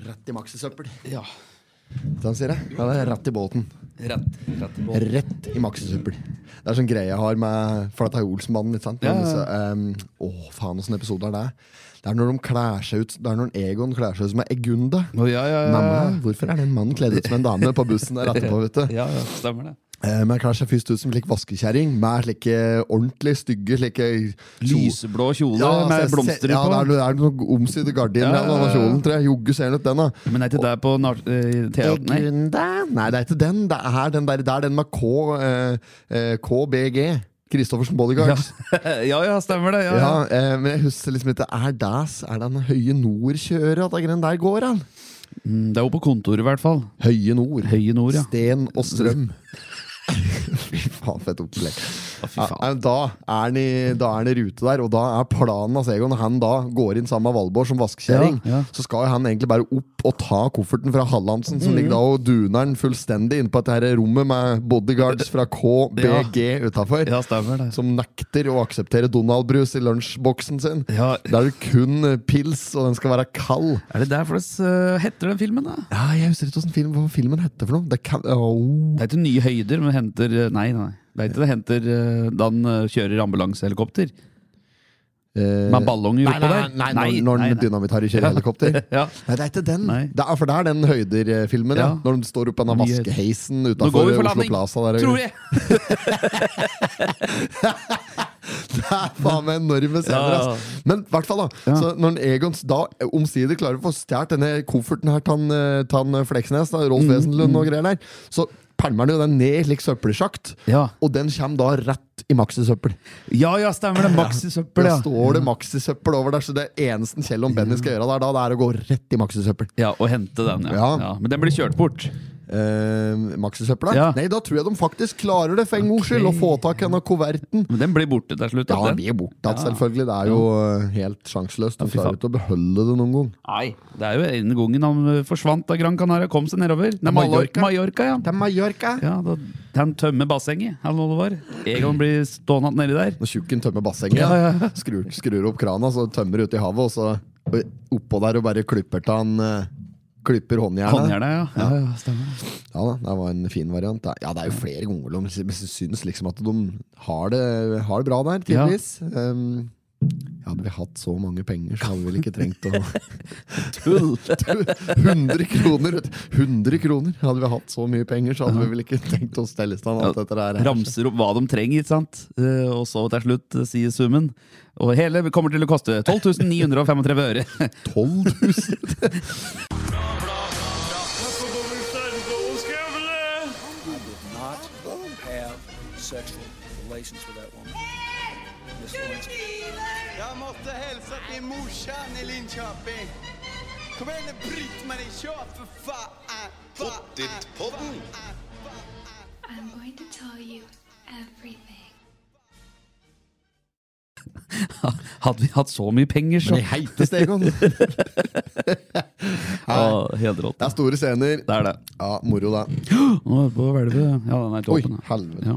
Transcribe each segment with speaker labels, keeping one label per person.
Speaker 1: Rett i maxisøppel.
Speaker 2: Ja.
Speaker 1: Sånn sier jeg. Ja, det er rett i bolten.
Speaker 2: Rett. Rett i båten.
Speaker 1: Rett i maxisøppel. Det er sånn greie jeg har med For dette er jo Olsenbanden, ikke sant? Men
Speaker 2: Ja, ja,
Speaker 1: disse,
Speaker 2: ja.
Speaker 1: em, å, faen, åssen episode er det? Det er når de klær seg ut Det er når Egon klær seg ut som en Egunda.
Speaker 2: Å, ja, ja, ja.
Speaker 1: Mamma, hvorfor er den mannen kledd ut som en dame på bussen der etterpå, vet du?
Speaker 2: Ja, ja, stemmer det.
Speaker 1: Eh, Men jeg klær seg først ut som en slik vaskekjerring med slike ordentlig stygge slike
Speaker 2: Lyseblå kjole med
Speaker 1: så jeg ser-
Speaker 2: blomster
Speaker 1: ja,
Speaker 2: på.
Speaker 1: det er, noe- det er noen omsydde gardiner
Speaker 2: Ja,
Speaker 1: ja,
Speaker 2: ja,
Speaker 1: ja,
Speaker 2: ja.
Speaker 1: kjolen, tror jeg. Jogge ser den ut, den, da.
Speaker 2: Men er ikke det på nar- eh, teater? Nei.
Speaker 1: Egunda? Nei, det er ikke den. Det er den, der, det er den med K, eh, eh, KBG. Christoffersen Bodyguards.
Speaker 2: ja, ja, stemmer det. Ja,
Speaker 1: Ja.
Speaker 2: ja.
Speaker 1: eh, men jeg husker liksom ikke Er det er den Høye Nord kjører? At det er den der går, han?
Speaker 2: Mm, Det er jo på kontoret, i hvert fall.
Speaker 1: Høye Nord.
Speaker 2: Høye nord, ja.
Speaker 1: Sten og strøm. Fy faen, fett opplegg.
Speaker 2: Å, fy
Speaker 1: Ja,
Speaker 2: faen.
Speaker 1: nei, da, er han i, da er han i rute der, og da er planen at Egon han da går inn sammen med Valborg som vaskekjerring.
Speaker 2: Ja, ja.
Speaker 1: Så skal jo han egentlig bare opp og ta kofferten fra Hallandsen, som ligger da og duner den fullstendig inne på dette her rommet med bodyguards fra KBG utafor,
Speaker 2: Ja, stemmer det.
Speaker 1: som nekter å akseptere Donald-brus i lunsjboksen sin.
Speaker 2: Ja,
Speaker 1: Der er det kun eh, pils, og den skal være kald.
Speaker 2: er det derfor det s- eh, heter den filmen, da?
Speaker 1: Ja, jeg husker ikke hvordan film, hva filmen heter for noe. Det kan, Åh.
Speaker 2: Det er ikke Nye høyder, men henter eh, Nei, nei. Det er ikke det henter eh, da han eh, kjører ambulansehelikopter.
Speaker 1: Eh,
Speaker 2: Med ballonger
Speaker 1: Nei,
Speaker 2: oppå
Speaker 1: nei,
Speaker 2: der.
Speaker 1: nei, når- når den dynamitharer kjører helikopter.
Speaker 2: Ja.
Speaker 1: Nei, det er ikke den.
Speaker 2: Nei.
Speaker 1: Det er, for det er den høyderfilmen. Ja.
Speaker 2: Ja.
Speaker 1: Når de står oppe i den
Speaker 2: Mye høyder.
Speaker 1: vaskeheisen
Speaker 2: Nå går
Speaker 1: utenfor
Speaker 2: vi for
Speaker 1: Oslo
Speaker 2: landing,
Speaker 1: Plaza. Der,
Speaker 2: tror jeg!
Speaker 1: Det er faen meg enorme scener,
Speaker 2: Ja.
Speaker 1: ass. Men i hvert fall, da.
Speaker 2: Ja.
Speaker 1: Så når Egon da omsider klarer å få stjålet denne kofferten her til han, eh, til han Fleksnes, da,
Speaker 2: Mm.
Speaker 1: Rolf Wesenlund og greier der, så pælmer han jo den ned i slik søppelsjakt.
Speaker 2: Ja.
Speaker 1: Og den kommer da rett i maxisøppel.
Speaker 2: ja, ja, stemmer det.
Speaker 1: Da
Speaker 2: Maxisøppel, ja. Mm.
Speaker 1: står det maxisøppel over der, så det eneste Kjell og Benny skal gjøre der, da, det er å gå rett i maxisøppel.
Speaker 2: Ja, Og hente den, ja.
Speaker 1: Ja.
Speaker 2: ja. Men den blir kjørt bort.
Speaker 1: Uh, Maxisøpla?
Speaker 2: Ja.
Speaker 1: Nei, da tror jeg de faktisk klarer det, for en gangs skyld, å få tak i denne kuverten.
Speaker 2: Men den blir borte til slutt.
Speaker 1: Ja, den
Speaker 2: vet du.
Speaker 1: blir borte
Speaker 2: Ja.
Speaker 1: selvfølgelig. Det er jo eh, helt sjanseløst. De
Speaker 2: fy
Speaker 1: klarer
Speaker 2: faen.
Speaker 1: ikke å beholde det noen gang.
Speaker 2: Nei, det er jo ene gangen han eh, forsvant av Gran Canaria, kom seg nedover. Nei,
Speaker 1: Mallorca.
Speaker 2: Mallorca. Mallorca, ja.
Speaker 1: Til Mallorca!
Speaker 2: ja da, han tømmer bassenget, eller hva det var. Egon blir stående nedi der.
Speaker 1: Når tjukken tømmer bassenget, Skrur, skrur opp krana, så tømmer ut i havet, og så og oppå der og bare klipper til han eh, Klipper håndjernet.
Speaker 2: Håndjernet, ja. ja. ja, stemmer.
Speaker 1: Ja da, Det var en fin variant. Det- Ja, Det er jo flere ganger de sy- syns liksom at de har det, har det bra der,
Speaker 2: Ja.
Speaker 1: tydeligvis. Um, hadde vi hatt så mange penger, så hadde vi vel ikke trengt å
Speaker 2: Tull!
Speaker 1: 100 kroner! vet du. 100 kroner Hadde vi hatt så mye penger, så hadde vi vel ikke tenkt å stelle i stand alt dette der.
Speaker 2: Ramser opp hva de trenger, ikke sant? Eh, og så til slutt eh, sier summen. Og hele kommer til å koste 12 935 øre.
Speaker 1: 12 000!
Speaker 3: not have sexual relations with that woman. Miss Lewinsky.
Speaker 4: Jeg måtte hilse til morsan i Linköping. Kom igjen, Britt-Marie, kjør, for faen! Pottit-podden.
Speaker 5: I'm going to tell you everything.
Speaker 2: Hadde vi hatt så mye penger, så
Speaker 1: Men i heiteste Egon! Det
Speaker 2: Ja, Helt rått.
Speaker 1: er store scener.
Speaker 2: Det er det.
Speaker 1: Ja, moro, da.
Speaker 2: Nå er vi på hvelvet. Ja, den er
Speaker 1: Oi,
Speaker 2: tåpen. ja.
Speaker 1: helvete.
Speaker 2: Ja.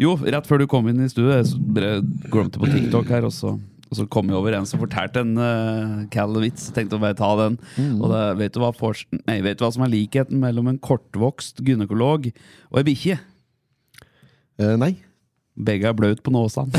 Speaker 2: Jo, rett før du kom inn i studiet, så bare glemte på TikTok her, og så, og så kom jeg over en som fortalte en uh, kald vits. Jeg Tenkte å bare ta den.
Speaker 1: Mm.
Speaker 2: Og det, vet, du hva fors- nei, vet du hva som er likheten mellom en kortvokst gynekolog og ei bikkje?
Speaker 1: Eh, nei.
Speaker 2: Begge er blaut på nåsene.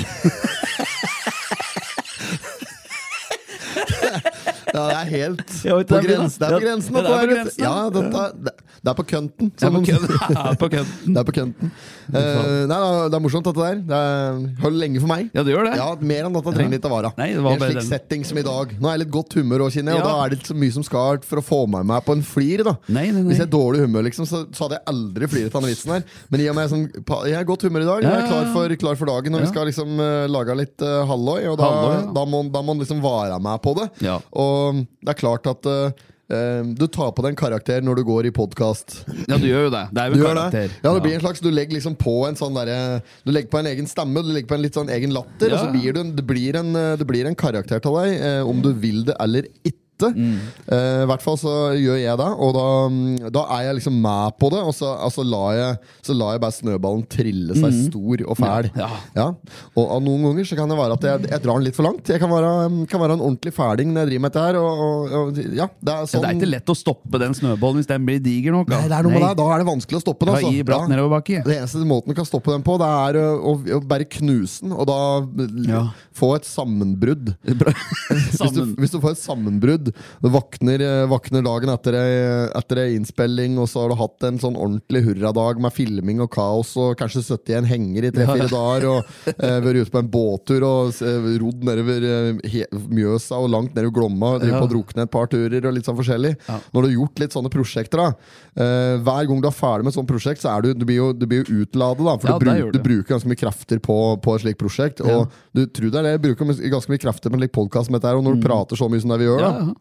Speaker 1: Ja, det er helt
Speaker 2: Ja, vet du,
Speaker 1: på
Speaker 2: det er bra.
Speaker 1: grensen. Det er på
Speaker 2: Ja,
Speaker 1: grensen.
Speaker 2: det
Speaker 1: dette
Speaker 2: er på
Speaker 1: her, vet du.
Speaker 2: grensen,
Speaker 1: Ja,
Speaker 2: ja.
Speaker 1: dette, det, det er på kønten.
Speaker 2: Det er
Speaker 1: som
Speaker 2: på
Speaker 1: de sier.
Speaker 2: kødd- det er på kødden.
Speaker 1: Det er på kønten. Eh, nei, da, det er morsomt, dette der. Det er, holder lenge for meg.
Speaker 2: Ja, det gjør det.
Speaker 1: Ja, Mer enn dette trenger litt å vare.
Speaker 2: Nei,
Speaker 1: I
Speaker 2: det var
Speaker 1: en
Speaker 2: bare
Speaker 1: slik
Speaker 2: den.
Speaker 1: setting som i dag. Nå er jeg litt godt humør også, kjenner jeg, og
Speaker 2: Ja.
Speaker 1: da er det ikke så mye som skal til for å få meg meg på en flir. da
Speaker 2: Nei, nei, nei.
Speaker 1: Hvis jeg er dårlig humør, liksom, så, så hadde jeg aldri fliret av den vitsen her. Men i og med jeg, er sånn, pa- jeg er i godt humør i dag, jeg
Speaker 2: Ja,
Speaker 1: er
Speaker 2: ja,
Speaker 1: klar
Speaker 2: ja.
Speaker 1: for, klar for dagen, og
Speaker 2: Ja.
Speaker 1: vi skal liksom eh, lage litt eh, halloi, og da,
Speaker 2: Halloi, ja.
Speaker 1: da, må, da må man liksom vare meg på det.
Speaker 2: Ja.
Speaker 1: Og mm, det er klart at eh, eh, du tar på deg en karakter når du går i podkast.
Speaker 2: Ja, du gjør jo det. Det er
Speaker 1: Du
Speaker 2: jo en
Speaker 1: gjør det?
Speaker 2: karakter.
Speaker 1: Ja, det blir en slags, du legger liksom på en sånn derre Du legger på en egen stemme, du legger på en litt sånn egen latter,
Speaker 2: Ja.
Speaker 1: og så blir du, en- det blir en, eh, det blir en karakter til deg, eh, om du vil det eller ikke. vente.
Speaker 2: Mm.
Speaker 1: Eh, I hvert fall så gjør jeg det, og da, mm, da er jeg liksom med på det. Og så, altså, lar, jeg, så lar jeg bare snøballen trille seg stor og fæl.
Speaker 2: Mm. Ja.
Speaker 1: Ja. Og, og noen ganger så kan det være at jeg, jeg drar den litt for langt. Jeg kan være, mm, kan være en ordentlig fæling når jeg driver med dette her. Og, og, og, ja, det er
Speaker 2: Ja,
Speaker 1: sånn
Speaker 2: det er ikke lett å stoppe den snøballen hvis den blir diger nok. da.
Speaker 1: Nei, det er noe med
Speaker 2: Nei.
Speaker 1: det. Da altså. er det vanskelig å stoppe den.
Speaker 2: Det var i bratt nedoverbakke.
Speaker 1: Det eneste måten du kan stoppe den på, det er å, å, å bare knuse den, og da l-
Speaker 2: Ja.
Speaker 1: få et sammenbrudd. Hvis du,
Speaker 2: Sammen.
Speaker 1: hvis du får et sammenbrudd, du våkner, eh, våkner dagen etter ei, etter ei innspilling, og så har du hatt en sånn ordentlig hurradag med filming og kaos, og kanskje 71 henger i tre-fire dager, og eh, vært ute på en båttur og eh, rodd nedover eh, he, Mjøsa og langt nedover Glomma, og driver
Speaker 2: Ja.
Speaker 1: på å drukne et par turer og litt sånn forskjellig. Når du har gjort litt sånne prosjekter, da, eh, hver gang du er ferdig med et sånt prosjekt, så er du, du blir jo, du blir jo utladet, da, for
Speaker 2: Ja,
Speaker 1: du,
Speaker 2: det
Speaker 1: bruk,
Speaker 2: gjør
Speaker 1: du
Speaker 2: du.
Speaker 1: bruker ganske mye krefter på, på et slikt prosjekt. Og du tror det er det, jeg bruker mye- ganske mye krefter på en slik podkast som dette her, og når du prater så mye som det vi gjør,
Speaker 2: Mm. Ja, Mm.
Speaker 1: da.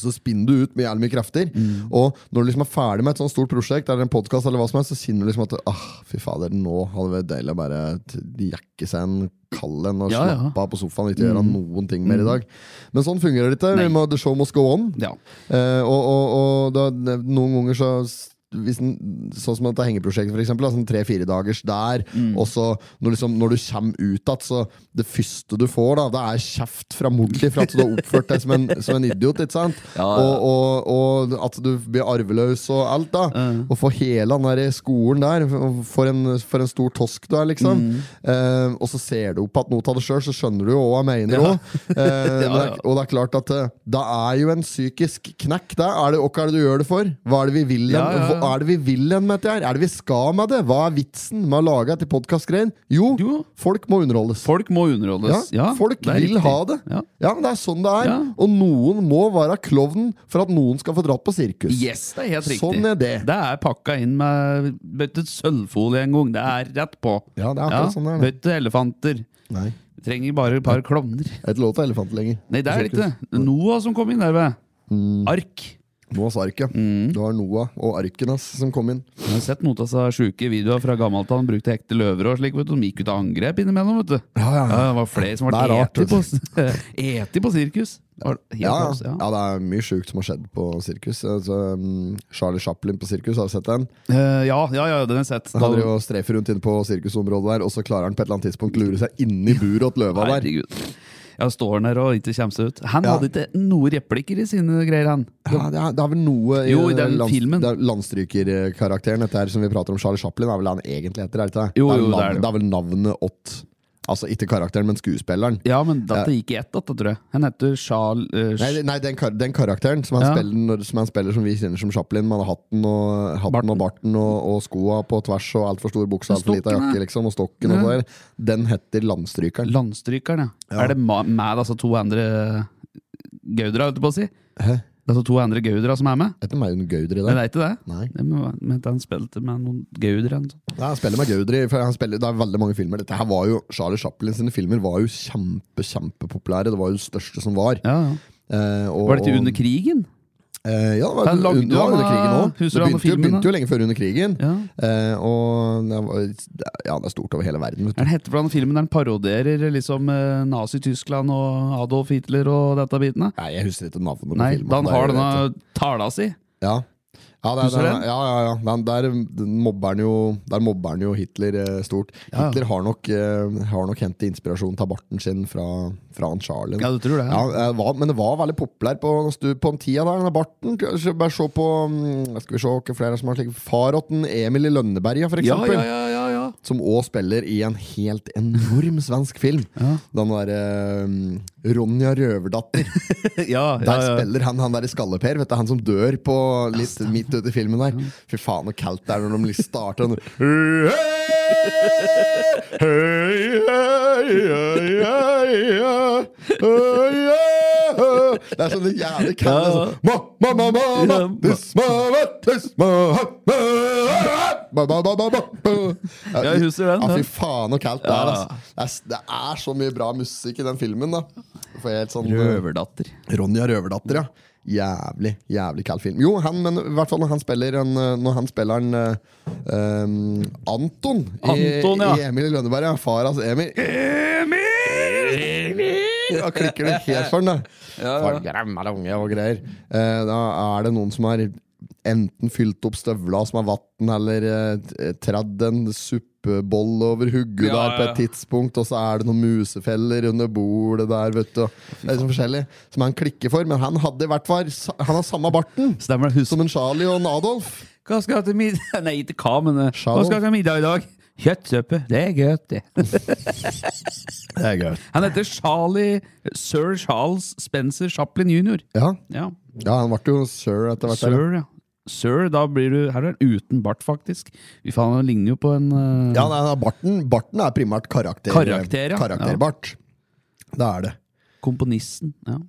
Speaker 1: Så spinner du ut med jævlig mye krefter. Og når du liksom er ferdig med et sånt stort prosjekt, Eller en podcast eller hva som helst så kjenner du liksom at ah, fy fader, nå hadde det vært deilig å bare t- jekke seg en kald en og
Speaker 2: Ja, ja. Mm.
Speaker 1: slappe av på sofaen og ikke gjøre noen ting mer i dag. Men sånn fungerer det ikke. Vi må, the show must go on.
Speaker 2: Ja.
Speaker 1: Eh, og og, og da, noen ganger så hvis den, sånn som dette hengeprosjektet, for eksempel. da, Sånn Tre-fire dagers der.
Speaker 2: Mm.
Speaker 1: Og så når, liksom, når du kommer ut igjen, så det første du får, da, det er kjeft fra mor di for at du har oppført deg som en, som en idiot. ikke sant?
Speaker 2: Ja, ja.
Speaker 1: Og, og, og at du blir arveløs og alt. da Og få hele den der skolen der, og for en, for en stor tosk du er, liksom.
Speaker 2: Mm.
Speaker 1: Eh, og så ser du opp at noe av det sjøl, så skjønner du jo hva jeg mener
Speaker 2: Ja.
Speaker 1: òg. Eh,
Speaker 2: Ja,
Speaker 1: men det er-
Speaker 2: ja.
Speaker 1: Og det er klart at eh, det er jo en psykisk knekk. Da. Er det, og hva er det du gjør det for? Hva er det vi vil hen?
Speaker 2: Ja, ja, ja.
Speaker 1: Hva er det vi vil hen med dette her? Er det vi skal med det? Hva er vitsen med å lage et podkastgrein? Jo,
Speaker 2: Jo.
Speaker 1: folk må underholdes.
Speaker 2: Folk må underholdes. Ja,
Speaker 1: folk
Speaker 2: det er
Speaker 1: vil
Speaker 2: riktig.
Speaker 1: ha det.
Speaker 2: Ja.
Speaker 1: men det er sånn det er.
Speaker 2: Ja.
Speaker 1: Og noen må være klovnen for at noen skal få dratt på sirkus.
Speaker 2: Yes, det er helt riktig.
Speaker 1: Sånn er det.
Speaker 2: Det er pakka inn med vet du, sølvfolie en gang. Det er rett på.
Speaker 1: Ja, det er akkurat sånn det er, det.
Speaker 2: Vet du, elefanter.
Speaker 1: Nei,
Speaker 2: Vi trenger bare et par klovner.
Speaker 1: det er ikke lov til elefanter lenger.
Speaker 2: Nei, det er det ikke det. Noah som kom inn der, ved.
Speaker 1: Mm.
Speaker 2: Ark.
Speaker 1: Noahs ark, ja.
Speaker 2: Mm.
Speaker 1: Det var Noah og arken hans som kom inn.
Speaker 2: Jeg har sett noen av disse sjuke videoer fra gammelt av han brukte ekte løver og slik. vet du De gikk ut av angrep innimellom, vet du.
Speaker 1: Ja, ja, ja.
Speaker 2: det var flere som
Speaker 1: Det er
Speaker 2: ble
Speaker 1: rart,
Speaker 2: eti på, eti på sirkus. Det var helt
Speaker 1: Ja,
Speaker 2: rart,
Speaker 1: ja. ja, det er mye sjukt som har skjedd på sirkus. Altså, mm, Charlie Chaplin på sirkus, har du sett den?
Speaker 2: Eh, ja, ja, ja, den har jeg sett.
Speaker 1: Han driver og strefer rundt inne på sirkusområdet der, og så klarer han på et eller annet tidspunkt lure seg inni buret åt løva der.
Speaker 2: Herregud. Ja, står han der og ikke kommer seg ut. Han
Speaker 1: Ja.
Speaker 2: hadde ikke noen replikker i sine greier, han.
Speaker 1: Ja, det, er, det er vel noe
Speaker 2: Jo, i den filmen.
Speaker 1: Det er landstrykerkarakteren dette her, som vi prater om. Charlie Chaplin er vel det han egentlig heter? Er det ikke det?
Speaker 2: Jo,
Speaker 1: det, er
Speaker 2: jo, det
Speaker 1: navn,
Speaker 2: er det.
Speaker 1: vel navnet åt Altså ikke karakteren, men skuespilleren.
Speaker 2: Ja, men dette gikk i ett, dette, tror jeg. Han heter Charl... eh,
Speaker 1: Nei, det- nei den, kar den karakteren som han,
Speaker 2: Ja.
Speaker 1: spiller, når, som han spiller som vi kjenner som Chaplin, med hatten og, hatten
Speaker 2: Barten.
Speaker 1: og barten og, og skoa på tvers og altfor stor bukse altfor lita
Speaker 2: Stokken, ja.
Speaker 1: jakke, liksom, og stokken og
Speaker 2: Ja.
Speaker 1: det der, den heter Landstrykeren.
Speaker 2: Landstrykeren, ja. Er det ma- med altså to andre gaudere, holdt jeg på å si?
Speaker 1: Hæ?
Speaker 2: Det er altså to andre gaudere som er med?
Speaker 1: Heter Maun Gaudri
Speaker 2: Men
Speaker 1: der?
Speaker 2: det er ikke det?
Speaker 1: Nei.
Speaker 2: Jeg mente han spilte med noen gaudere. eller noe sånt.
Speaker 1: Nei, han spiller med Gaudri. For han spiller, det er veldig mange filmer. Dette her var jo, Charlie Chaplin sine filmer var jo kjempe, kjempepopulære. Det var jo det største som var.
Speaker 2: Ja, ja.
Speaker 1: Eh, og,
Speaker 2: Var dette
Speaker 1: og-
Speaker 2: under krigen?
Speaker 1: Eh, ja, det var,
Speaker 2: Han lagde
Speaker 1: un- det var
Speaker 2: jo
Speaker 1: under
Speaker 2: han, eh,
Speaker 1: krigen òg. Det
Speaker 2: husker du han
Speaker 1: begynte, jo-
Speaker 2: filmen,
Speaker 1: begynte
Speaker 2: da?
Speaker 1: jo lenge før under krigen.
Speaker 2: Ja.
Speaker 1: Eh, og det, var, det- ja, det er stort over hele verden. Vet du.
Speaker 2: Er det hette for den filmen der han parodierer liksom eh, Nazi-Tyskland og Adolf Hitler og dette bitene?
Speaker 1: Nei, jeg husker ikke navnet på
Speaker 2: Nei,
Speaker 1: filmen.
Speaker 2: da han
Speaker 1: Det er
Speaker 2: har
Speaker 1: jo
Speaker 2: denne
Speaker 1: rett.
Speaker 2: tala si.
Speaker 1: Ja, ja, det er,
Speaker 2: Husker du
Speaker 1: det er-
Speaker 2: den?
Speaker 1: ja, ja, ja. Den, der, den mobber han jo, der mobber han jo Hitler eh, stort.
Speaker 2: Ja, ja.
Speaker 1: Hitler har nok, eh, har nok hentet inspirasjon til barten sin fra, fra han Charlie.
Speaker 2: Ja, du tror det?
Speaker 1: Ja, eh, var, men det var veldig populær på, på den tida. Der, den barten. Kanskje Bare se på mm, skal vi se, hva flere som har slik Farotten Emil i Lønneberga, for
Speaker 2: ja,
Speaker 1: eksempel.
Speaker 2: ja, ja, ja, ja.
Speaker 1: Som òg spiller i en helt enorm svensk film. Den derre eh, Ronja Røverdatter.
Speaker 2: ja, ja,
Speaker 1: Der
Speaker 2: ja.
Speaker 1: spiller han han der i Skalleper, vet du, han som dør på litt midt ute i filmen der. Fy faen, så kaldt det er når de liksom starter den. Hei, hei, hei, hei, hei, hei, hei. Det er sånn det jævlig kaldt. det er sånn, Ma, ma, ma, ma, ma, this, ma, ma, this, ma, ha, ma, ha, ma, ma, ma, ma, ma, ma.
Speaker 2: Ja, jeg husker den,
Speaker 1: Ja,
Speaker 2: ja.
Speaker 1: fy faen, så kaldt det er. Altså. Det, er s- det er så mye bra musikk i den filmen. da Får jeg helt sånn
Speaker 2: Røverdatter.
Speaker 1: Ronja Røverdatter, ja. Jævlig jævlig kald film. Jo, han, men i hvert fall når han spiller en, eh, Når han spiller en eh, ehm, Anton,
Speaker 2: Anton, ja.
Speaker 1: i, i Emil i Lønneberg. Ja. Far altså Emil.
Speaker 2: Emil!
Speaker 1: Da klikker det helt for den, da.
Speaker 2: Ja, ja.
Speaker 1: Fargerammalonge og greier. Eh, da er det noen som har enten fylt opp støvla som er vann, eller eh, tradd en suppeboll over hodet
Speaker 2: Ja,
Speaker 1: der på
Speaker 2: ja,
Speaker 1: et
Speaker 2: ja.
Speaker 1: tidspunkt, og så er det noen musefeller under bordet der, vet du. Det er liksom forskjellig som han klikker for, men han hadde i hvert fall sa- Han har samme barten
Speaker 2: Stemmer det. Husk
Speaker 1: som en Charlie og en Adolf.
Speaker 2: Hva skal jeg ha til middag? Nei, ikke hva, men eh,
Speaker 1: Shalom.
Speaker 2: hva skal jeg ha til middag i dag? Kjøttsuppe. Det er godt, det.
Speaker 1: Det er gøy.
Speaker 2: Han heter Charlie Sir Charles Spencer Chaplin jr.
Speaker 1: Ja,
Speaker 2: Ja.
Speaker 1: ja han ble jo sir etter hvert.
Speaker 2: Sir, ja. Sir, da blir du Her er han uten bart, faktisk. Fy faen, han ligner jo på en eh,
Speaker 1: Ja, nei, nei, barten, barten er primært karakter,
Speaker 2: Karakter, ja.
Speaker 1: karakterbart. Det er det.
Speaker 2: komponisten. Ja.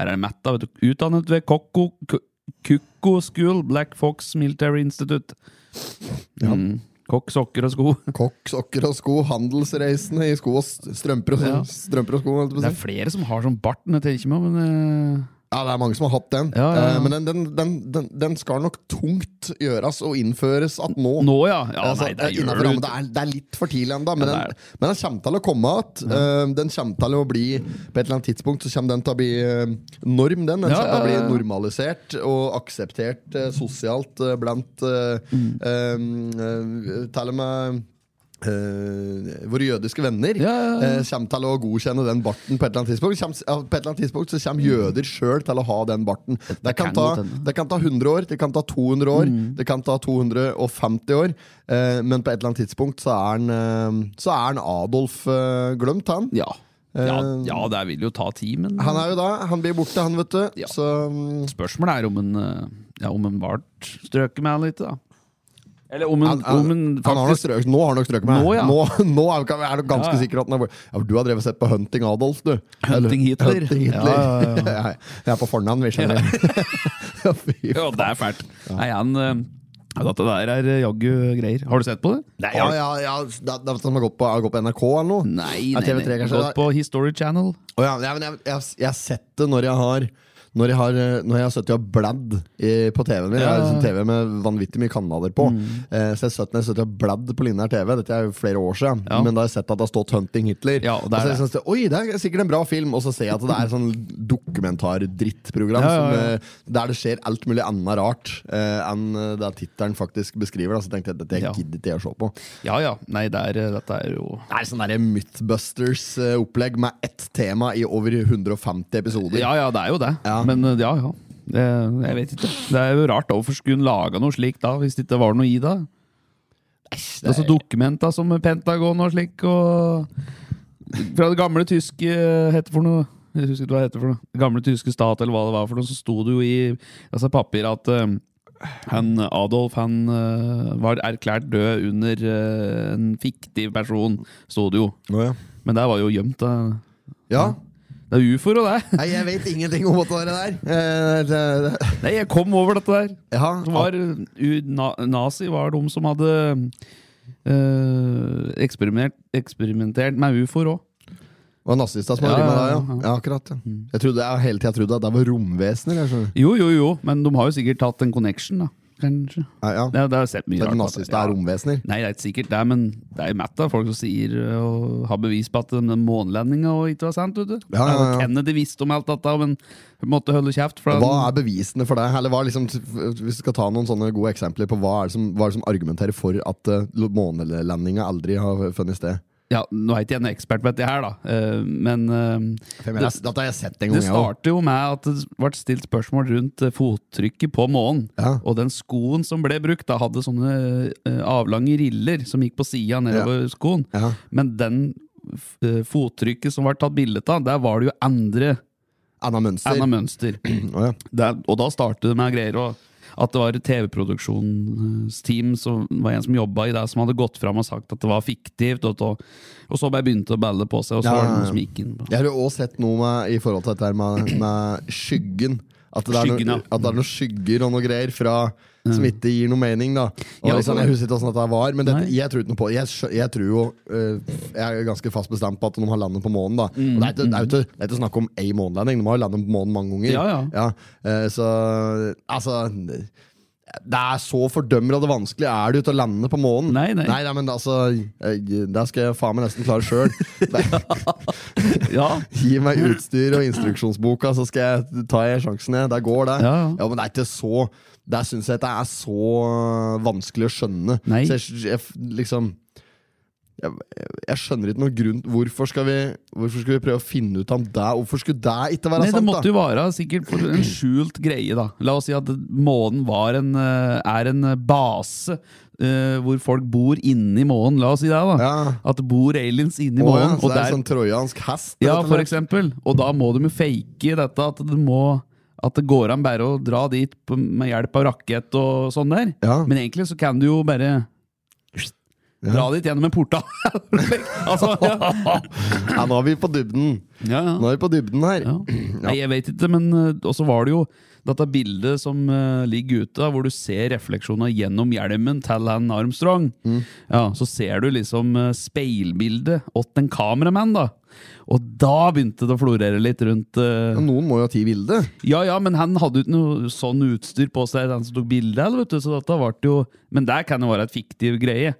Speaker 2: Her er det Matta, vet du. Utdannet ved Kokko K- Kukko School, Black Fox Military Institute. Mm. Kokk, sokker og sko.
Speaker 1: Kokk, sokker og sko, handelsreisende i sko og st- strømper og,
Speaker 2: Ja.
Speaker 1: strømper og sko. holdt jeg på å
Speaker 2: Det er
Speaker 1: si.
Speaker 2: flere som har sånn bart, men jeg tenker ikke meg om. Men, eh,
Speaker 1: Ja, det er mange som har hatt den.
Speaker 2: Ja, ja, ja.
Speaker 1: Eh, Men den, den, den, den, den skal nok tungt gjøres og innføres at nå.
Speaker 2: Nå, ja. ja
Speaker 1: Altså,
Speaker 2: nei, det
Speaker 1: eh, innenfor
Speaker 2: gjør
Speaker 1: rammen.
Speaker 2: du.
Speaker 1: det, er, det er litt for tidlig ennå, men,
Speaker 2: Ja,
Speaker 1: den-
Speaker 2: det
Speaker 1: men den kommer til å komme igjen. Den kommer til å bli På et eller annet tidspunkt så kommer den til å bli eh, norm. Den, den
Speaker 2: Ja,
Speaker 1: kommer til å
Speaker 2: ja, ja.
Speaker 1: bli normalisert og akseptert eh, sosialt eh, blant eh,
Speaker 2: Mm.
Speaker 1: eh, eh, Til og med eh, våre jødiske venner
Speaker 2: Ja, ja, ja.
Speaker 1: eh, kommer til å godkjenne den barten på et eller annet tidspunkt. Kjem, ja, på et eller annet tidspunkt så kommer jøder sjøl til å ha den barten. Det kan,
Speaker 2: kan godt
Speaker 1: ta,
Speaker 2: hende.
Speaker 1: det kan ta 100 år, det kan ta 200 år,
Speaker 2: Mm.
Speaker 1: det kan ta 250 år. Eh, men på et eller annet tidspunkt så er han, eh, så er han Adolf eh, glemt, han.
Speaker 2: Ja. Ja,
Speaker 1: Eh,
Speaker 2: ja, det vil jo ta tid, men
Speaker 1: Han er jo da, han blir borte, han, vet du.
Speaker 2: Ja.
Speaker 1: Så mm,
Speaker 2: spørsmålet er om en, eh, ja, om en bart strøker meg litt, da. Eller om en,
Speaker 1: han, han,
Speaker 2: om en
Speaker 1: han har nok
Speaker 2: faktisk
Speaker 1: strøk, nå har han nok strøket meg.
Speaker 2: Nå, ja.
Speaker 1: nå, nå er vi- er du ganske
Speaker 2: Ja, ja.
Speaker 1: sikker at han er borte. Ja, for du har drevet og sett på Hunting Adolf, du.
Speaker 2: Hunting Hitler.
Speaker 1: Hunting Hitler.
Speaker 2: Ja, ja,
Speaker 1: Jeg er på fornavn, vi skjønner. Ja. Fy
Speaker 2: Ja, det er fælt. Nei, han eh, ja, Dette der er eh, jaggu greier. Har du sett på det? Nei,
Speaker 1: Ja, ja, ja. Det, det er som å gå på, gå på NRK eller noe?
Speaker 2: Nei,
Speaker 1: Ja,
Speaker 2: nei,
Speaker 1: TV3
Speaker 2: nei.
Speaker 1: kanskje,
Speaker 2: Gått
Speaker 1: da.
Speaker 2: på History Channel.
Speaker 1: Å ja, nei, men jeg, jeg, jeg har sett det når jeg har Når jeg har, eh, når jeg har sittet og bladd i, på TV-en min. Jeg har
Speaker 2: Ja. Mm.
Speaker 1: liksom TV med vanvittig mye kanaler på. Eh, så jeg har sittet- når jeg har sittet og bladd på linjær TV. Dette er jo flere år siden.
Speaker 2: Ja.
Speaker 1: Men da har jeg sett at det har stått 'Hunting Hitler'.
Speaker 2: Ja, og det er
Speaker 1: så jeg synes det, Oi, det er sikkert en bra film! Og så ser jeg at det er sånn dokumentar-drittprogram
Speaker 2: Ja, ja, ja.
Speaker 1: som, eh, der det skjer alt mulig annet rart eh, enn eh, det tittelen faktisk beskriver. Da. Så tenkte jeg dette
Speaker 2: Ja.
Speaker 1: jeg gidder ikke jeg å se på.
Speaker 2: Ja ja. Nei, det er, eh, dette er jo
Speaker 1: Det er sånn der Mythbusters-opplegg med ett tema i over 150 episoder.
Speaker 2: Ja ja, det er jo det.
Speaker 1: Ja.
Speaker 2: Men eh, ja ja. Det, jeg vet ikke. Det er jo rart. Hvorfor skulle hun laga noe slikt da, hvis det ikke var noe i det? Det er så dokumenter som Pentagon og slik, og fra det gamle tyske hette for noe jeg husker ikke hva det heter for noe. Det gamle tyske stat, eller hva det var for noe, så sto det jo i altså papir at eh, han, Adolf han eh, var erklært død under eh, en fiktiv person, sto det jo.
Speaker 1: Å, ja.
Speaker 2: Men det var jo gjemt. Det,
Speaker 1: ja.
Speaker 2: det er ufoer og det.
Speaker 1: Nei, jeg vet ingenting om dette der. Eh, det, det.
Speaker 2: Nei, jeg kom over dette der.
Speaker 1: Ja.
Speaker 2: Det var, eh, u, na, nazi var de som hadde eh, eksperimentert, eksperimentert med ufoer òg.
Speaker 1: Det var nazister som
Speaker 2: Ja,
Speaker 1: hadde ja, med
Speaker 2: ja,
Speaker 1: det,
Speaker 2: ja. Mm.
Speaker 1: ja. ja akkurat. Ja. Jeg trodde, jeg har hele tida trodd at det var romvesener. Jeg skjønner.
Speaker 2: Jo, jo, jo, men de har jo sikkert tatt en connection, da. Kanskje.
Speaker 1: Nei, ja.
Speaker 2: Det, det har jeg sett
Speaker 1: At
Speaker 2: mye rart. på det.
Speaker 1: nazister er romvesener.
Speaker 2: Nei, det er ikke sikkert det, men det er jo matt av folk som sier ø, og har bevis på at den månelandinga og ikke var sant, vet du.
Speaker 1: Ja, ja, ja.
Speaker 2: Kennedy visste om alt dette, men hun måtte holde kjeft. For
Speaker 1: Hva er bevisene for det? Eller hva er liksom, hvis du skal ta noen sånne gode eksempler på hva er det som, hva er det som argumenterer for at uh, månelandinga aldri har funnet sted?
Speaker 2: ja, nå er ikke jeg en ekspert på dette her, da, ø, men eh, ø,
Speaker 1: For jeg mener,
Speaker 2: det,
Speaker 1: Dette har jeg sett en gang.
Speaker 2: det
Speaker 1: jeg også.
Speaker 2: starter jo med at det ble stilt spørsmål rundt ø, fottrykket på månen.
Speaker 1: Ja.
Speaker 2: Og den skoen som ble brukt, da hadde sånne ø, avlange riller som gikk på sida nedover skoen.
Speaker 1: Ja.
Speaker 2: Men den f- ø, fottrykket som var tatt bilde av, der var det jo andre
Speaker 1: Anna Mønster.
Speaker 2: Anna Mønster.
Speaker 1: Å, ja.
Speaker 2: det, er- og da startet det med greier og at det var et TV-produksjonsteam som var en som jobba i det, som hadde gått fram og sagt at det var fiktivt. Og, og, og så bare begynte å balle på seg, og så
Speaker 1: Ja,
Speaker 2: var det
Speaker 1: ja,
Speaker 2: noen
Speaker 1: ja.
Speaker 2: som gikk inn. på-
Speaker 1: Jeg har jo også sett noe med, i forhold til dette her med, med skyggen. At det, er
Speaker 2: Skyggen, ja.
Speaker 1: noe, at det er noen skygger og noe greier fra, som ikke gir noe mening. da og
Speaker 2: Ja,
Speaker 1: liksom, Jeg husker ikke hvordan dette var, men dette,
Speaker 2: Nei.
Speaker 1: jeg tror ikke noe på det. jeg, skjø- jeg tror jo øh, Jeg er ganske fast bestemt på at de har landet på månen. da Og
Speaker 2: Mm.
Speaker 1: det, er ikke, det, er jo ikke, det er ikke snakk om ei månelanding, de har jo landet på månen mange ganger.
Speaker 2: Ja, ja.
Speaker 1: eh, så eh, altså Det er så fordømmer og det vanskelig er det ut å lande på månen.
Speaker 2: Nei, nei.
Speaker 1: nei, men altså jeg- Det skal jeg faen meg nesten klare sjøl.
Speaker 2: Ja,
Speaker 1: Gi meg utstyr og instruksjonsboka, så skal jeg ta jeg sjansen. jeg. Der går det.
Speaker 2: Ja, ja.
Speaker 1: men det er ikke så Der syns jeg det er så øh, vanskelig å skjønne.
Speaker 2: Nei.
Speaker 1: Så jeg, jeg, liksom jeg, jeg skjønner ikke noen grunn Hvorfor skal vi Hvorfor skal vi prøve å finne ut om det? Hvorfor skulle det ikke være
Speaker 2: Nei, det
Speaker 1: sant?
Speaker 2: måtte
Speaker 1: da?
Speaker 2: jo være sikkert for en skjult greie, da. La oss si at månen var en, eh, er en base eh, hvor folk bor inni månen. La oss si det, da.
Speaker 1: Ja.
Speaker 2: At det bor aliens inni
Speaker 1: Å, ja, så
Speaker 2: månen. og
Speaker 1: det er
Speaker 2: der,
Speaker 1: en sånn trojansk hest?
Speaker 2: ja,
Speaker 1: rett og
Speaker 2: for
Speaker 1: slett.
Speaker 2: eksempel. Og da må de jo fake dette, at det, må, at det går an bare å dra dit på, med hjelp av rakett og sånn der.
Speaker 1: Ja.
Speaker 2: Men egentlig så kan du jo bare Dra dit gjennom en portal! altså, ja.
Speaker 1: ja, nå er vi på dybden.
Speaker 2: Ja, ja.
Speaker 1: Nå er vi på dybden her.
Speaker 2: Ja. Nei, jeg vet ikke, men eh, også var det jo dette bildet som eh, ligger ute, da, hvor du ser refleksjoner gjennom hjelmen til han Armstrong.
Speaker 1: Mm.
Speaker 2: Ja, så ser du liksom eh, speilbildet åt en kameramann, da. Og da begynte det å florere litt rundt eh,
Speaker 1: Noen må jo ha ti bilde.
Speaker 2: Ja ja, men han hadde jo ikke noe sånn utstyr på seg, den som tok bildet, eller, vet du, så dette ble jo Men der kan det være et fiktiv greie.